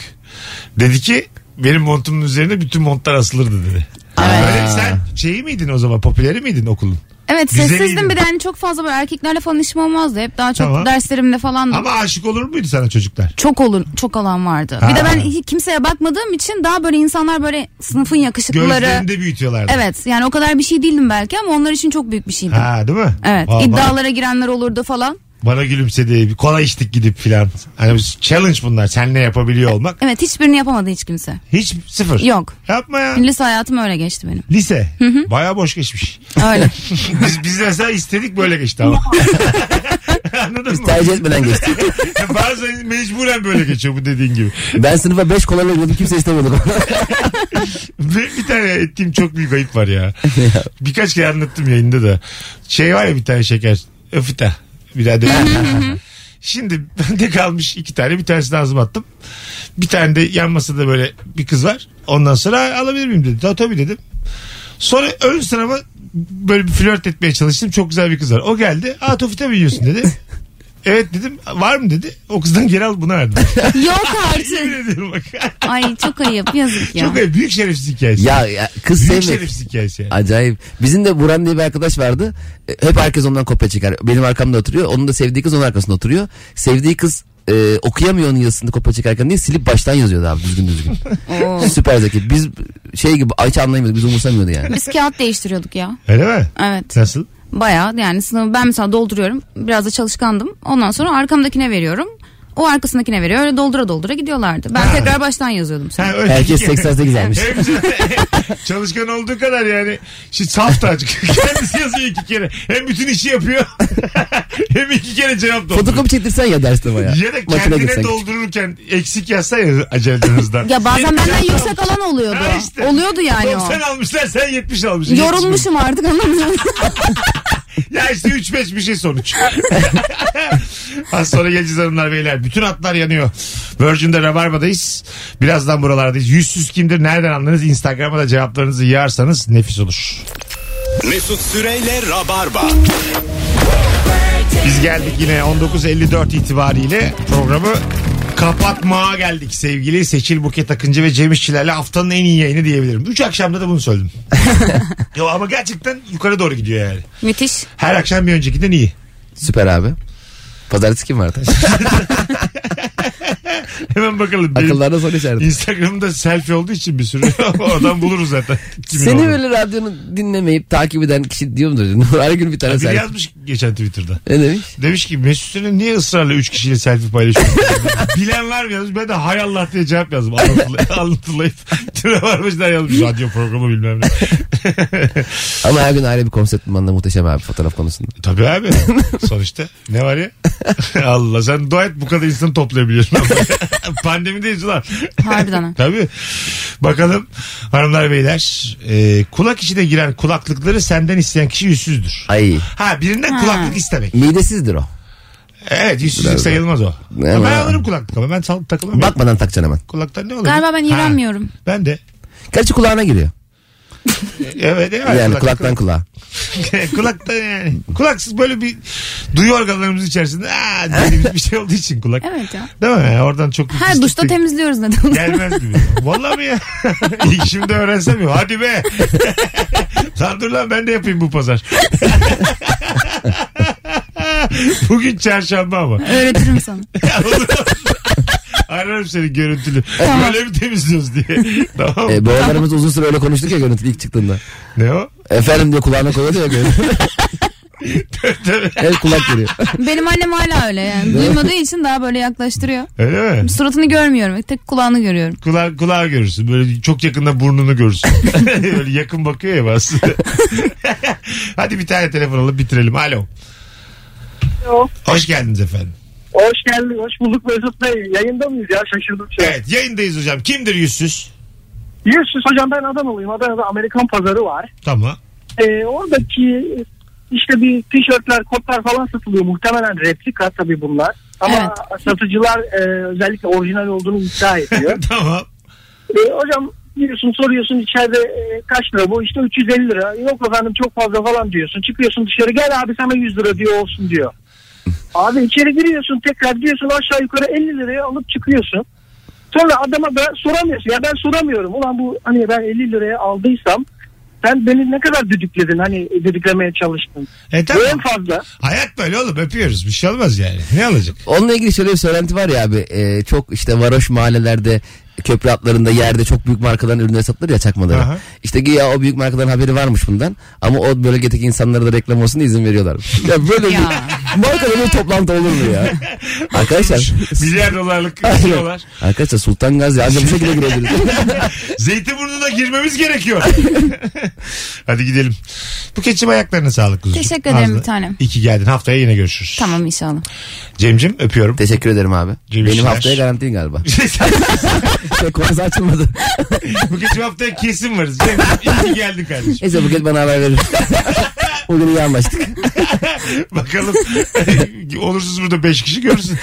S1: Dedi ki benim montumun üzerine bütün montlar asılırdı dedi. Öyle, sen şeyi miydin o zaman popüleri miydin okulun?
S2: Evet
S1: Güzel
S2: sessizdim
S1: iyiydi.
S2: bir de hani çok fazla böyle erkeklerle falan işim olmazdı. Hep daha çok
S1: Tamam.
S2: derslerimle falan.
S1: Ama aşık olur muydu sana çocuklar?
S2: Çok olur, çok alan vardı. Bir
S1: Ha.
S2: de ben hi- kimseye bakmadığım için daha böyle insanlar böyle sınıfın yakışıklıları.
S1: Gözlerini de büyütüyorlardı.
S2: Evet yani o kadar bir şey değildim belki ama onlar için çok büyük bir şeydi.
S1: Ha değil mi?
S2: Evet
S1: Aa,
S2: iddialara girenler olurdu falan.
S1: Bana, bana gülümsedi. Bir kola içtik gidip filan. Hani biz- challenge bunlar. Sen ne yapabiliyor olmak.
S2: Evet hiçbirini yapamadı hiç kimse.
S1: Hiç sıfır.
S2: Yok.
S1: Yapma ya.
S2: Lise hayatım öyle geçti benim.
S1: Lise.
S2: Hı hı.
S1: Baya boş geçmiş.
S2: Öyle.
S1: biz, biz mesela istedik böyle geçti ama. Anladın mı?
S3: Tercih etmeden geçti.
S1: Bazen mecburen böyle geçiyor bu dediğin gibi.
S3: Ben sınıfa 5 kolayla girdim kimse istemedi.
S1: Bir, bir tane ettiğim çok büyük ayıp var ya. Birkaç kere anlattım yayında da. Şey var ya bir tane şeker. Öfita. Birader. Şimdi bende kalmış iki tane. Bir tanesini ağzıma attım. Bir tane de yan masada böyle bir kız var. Ondan sonra alabilir miyim dedi. Tabii tabii dedim. Sonra ön sırama böyle bir flört etmeye çalıştım. Çok güzel bir kız var. O geldi. Aa Tofita mi yiyorsun dedi. Evet dedim. Var mı dedi. O kızdan geri al buna verdim.
S2: Yok artık.
S1: ediyorum bak.
S2: Ay çok ayıp yazık ya.
S1: Çok ayıp. Büyük şerefsiz hikayesi.
S3: Ya, ya kız
S1: Büyük
S3: sevmedi.
S1: şerefsiz hikayesi. yani.
S3: Acayip. Bizim de Buran diye bir arkadaş vardı. E, Hep herkes ondan kopya çeker. Benim arkamda oturuyor. Onun da sevdiği kız onun arkasında oturuyor. Sevdiği kız e, okuyamıyor onun yazısını kopya çekerken diye silip baştan yazıyordu abi düzgün düzgün.
S2: Oo.
S3: Süper zeki. Biz şey gibi hiç anlayamıyorduk. Biz umursamıyordu yani.
S2: Biz kağıt değiştiriyorduk ya.
S1: Öyle mi?
S2: Evet.
S1: Nasıl?
S2: Bayağı yani sınavı ben mesela dolduruyorum. Biraz da çalışkandım. Ondan sonra arkamdakine veriyorum. O arkasındakine veriyor. Öyle doldura doldura gidiyorlardı. Ben tekrar baştan yazıyordum. sonra.
S1: Ha, öyle.
S3: Herkes 88 almış.
S1: Hepsi- Çalışkan olduğu kadar yani. Şimdi saf da azıcık. Kendisi yazıyor iki kere. Hem bütün işi yapıyor. hem iki kere cevap dolduruyor.
S3: Fotokopi çektirsen ya derste baya.
S1: Ya da
S3: Makine
S1: kendine
S3: gitsen.
S1: doldururken eksik yazsa ya aceleden hızdan.
S2: Ya bazen benden
S1: Yetmiş
S2: yüksek alan oluyordu.
S1: Ha işte.
S2: Oluyordu yani o.
S1: 90 almışlar sen 70 almışsın.
S2: Yorulmuşum artık anlamıyorum.
S1: Ya işte 3-5 bir şey sonuç. Az sonra geleceğiz hanımlar beyler. Bütün hatlar yanıyor. Virgin'de Rabarba'dayız. Birazdan buralardayız. Yüzsüz kimdir nereden anlarız? Instagram'a da cevaplarınızı yığarsanız nefis olur.
S9: Mesut Süreyle Rabarba.
S1: Biz geldik yine 19.54 itibariyle programı kapatmaya geldik sevgili Seçil Buket Akıncı ve Cem İşçilerle haftanın en iyi yayını diyebilirim. Üç akşamda da bunu söyledim. Yo ama gerçekten yukarı doğru gidiyor yani.
S2: Müthiş.
S1: Her akşam bir öncekinden iyi.
S3: Süper abi. Pazartesi kim vardı?
S1: Hemen bakalım. Benim
S3: Akıllarda soru işareti.
S1: Instagram'da selfie olduğu için bir sürü oradan buluruz zaten. Kimin
S3: Seni
S1: olduğunu.
S3: böyle radyonu dinlemeyip takip eden kişi diyor mudur? Her gün bir tane
S1: Biri
S3: sen.
S1: yazmış geçen Twitter'da.
S3: Ne demiş?
S1: Demiş ki Mesut Süre niye ısrarla 3 kişiyle selfie paylaşıyor? Bilen var mı yazmış? Ben de hay Allah diye cevap yazdım. Anlatılay- Anlatılayıp. Tüme varmışlar yazmış. Radyo programı bilmem ne.
S3: Ama her gün ayrı bir konsept bulman da muhteşem abi fotoğraf konusunda.
S1: Tabii abi. Sonuçta ne var ya? Allah sen dua et bu kadar insanı toplayabiliyorsun. Pandemideyiz ulan.
S2: Harbiden ha.
S1: Tabii. Bakalım hanımlar beyler. Ee, kulak içine giren kulaklıkları senden isteyen kişi yüzsüzdür.
S3: Ay.
S1: Ha birinden
S2: Ha.
S1: kulaklık istemek.
S3: Midesizdir o.
S1: Evet yüzsüzlük sayılmaz o.
S3: Ne
S1: Ama
S3: var?
S1: ben alırım kulaklık ama ben sal- takılmam. ya.
S3: Bakmadan takacaksın hemen.
S1: Kulaktan ne olur?
S2: Galiba ben iğrenmiyorum.
S1: Ben de.
S3: Gerçi kulağına giriyor.
S1: Evet, evet.
S3: Yani
S1: Kulak-
S3: kulaktan kulağa.
S1: Kulakta yani. Kulaksız böyle bir duyu organlarımız içerisinde aa dediğimiz bir şey olduğu için kulak.
S2: Evet ya.
S1: Değil mi? Oradan çok
S2: Her duşta temizliyoruz neden?
S1: Gelmez gibi. Vallahi mi ya? İlk şimdi öğrensem ya. Hadi be. Lan dur lan ben de yapayım bu pazar. Bugün çarşamba ama.
S2: Öğretirim sana.
S1: Ararım seni görüntülü. Böyle mi temizliyoruz diye. tamam.
S3: E, bu aralarımız uzun süre öyle konuştuk ya görüntülü ilk çıktığında.
S1: Ne o?
S3: Efendim diye kulağına koyuyordu ya görüntülü. El kulak geliyor.
S2: Benim annem hala öyle yani. Duymadığı için daha böyle yaklaştırıyor.
S1: Öyle mi?
S2: Suratını görmüyorum. Tek kulağını görüyorum.
S1: Kulağı, kulağı görürsün. Böyle çok yakında burnunu görürsün. Böyle yakın bakıyor ya bazı. Hadi bir tane telefon alıp bitirelim. Alo. Hoş geldiniz efendim.
S7: Hoş geldin, hoş bulduk Mesut Bey. Yayında mıyız ya? Şaşırdım şu an.
S1: Evet yayındayız hocam. Kimdir yüzsüz?
S7: Yüzsüz hocam ben Adanalıyım. Adana'da Amerikan pazarı var.
S1: Tamam.
S7: Ee, oradaki işte bir tişörtler, kotlar falan satılıyor. Muhtemelen replika tabii bunlar. Ama satıcılar e, özellikle orijinal olduğunu iddia ediyor.
S1: tamam.
S7: Ee, hocam giriyorsun soruyorsun içeride e, kaç lira bu? İşte 350 lira. Yok efendim çok fazla falan diyorsun. Çıkıyorsun dışarı gel abi sana 100 lira diyor olsun diyor. Abi içeri giriyorsun tekrar diyorsun aşağı yukarı 50 liraya alıp çıkıyorsun. Sonra adama ben soramıyorsun. Ya ben soramıyorum. Ulan bu hani ben 50 liraya aldıysam sen beni ne kadar düdükledin hani düdüklemeye çalıştın.
S1: E, tamam.
S7: Bu en fazla.
S1: Hayat böyle oğlum öpüyoruz. Bir şey olmaz yani. Ne alacak?
S3: Onunla ilgili şöyle bir söylenti var ya abi. e, çok işte varoş mahallelerde köprü altlarında yerde çok büyük markaların ürünleri satılır ya çakmaları.
S1: Aha.
S3: İşte güya o büyük markaların haberi varmış bundan. Ama o bölgedeki insanlara da reklam olsun diye izin veriyorlar. ya böyle bir markaların bir toplantı olur mu ya? Arkadaşlar.
S1: Milyar dolarlık
S3: Aynen.
S1: diyorlar.
S3: Arkadaşlar Sultan Gazi ancak bu şekilde girebiliriz.
S1: Zeytinburnu'na girmemiz gerekiyor. Hadi gidelim. Bu keçim ayaklarına sağlık kuzucuğum.
S2: Teşekkür ederim
S1: Ağzına-
S2: bir tanem.
S1: İyi ki geldin. Haftaya yine görüşürüz.
S2: Tamam inşallah.
S1: Cemcim öpüyorum.
S3: Teşekkür ederim abi. Benim haftaya garantin galiba. Çok konusu açılmadı.
S1: Bu keçim haftaya kesin varız. Cemcim iyi ki geldin kardeşim.
S3: Neyse Buket bana haber verir. o gün iyi anlaştık.
S1: Bakalım. Olursunuz burada 5 kişi görürsün.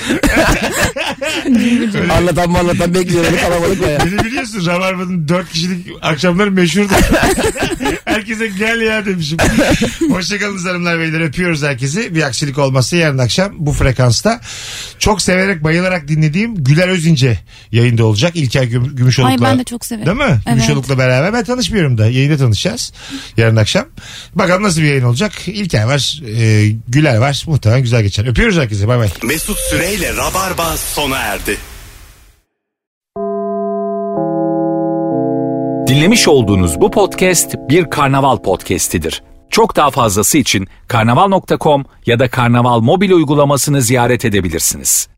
S1: Öyle-
S3: anlatan mı anlatan bekliyorum. Kalabalık baya.
S1: Beni biliyorsun Rabarba'nın 4 kişilik akşamları meşhurdu. Herkese gel ya demişim. Hoşçakalın hanımlar beyler öpüyoruz herkesi. Bir aksilik olmazsa yarın akşam bu frekansta çok severek bayılarak dinlediğim Güler Özince yayında olacak. İlker Güm- Gümüşoluk'la.
S2: Ay ben de çok severim.
S1: Değil mi?
S2: Evet.
S1: Gümüşoluk'la beraber. Ben tanışmıyorum da. Yayında tanışacağız. Yarın akşam. Bakalım nasıl bir yayın olacak. İlker var. e, Güler var. Muhtemelen güzel geçer. Öpüyoruz herkese. Bay bay.
S9: Mesut Süreyle Rabarba sona erdi.
S18: Dinlemiş olduğunuz bu podcast bir karnaval podcastidir. Çok daha fazlası için karnaval.com ya da karnaval mobil uygulamasını ziyaret edebilirsiniz.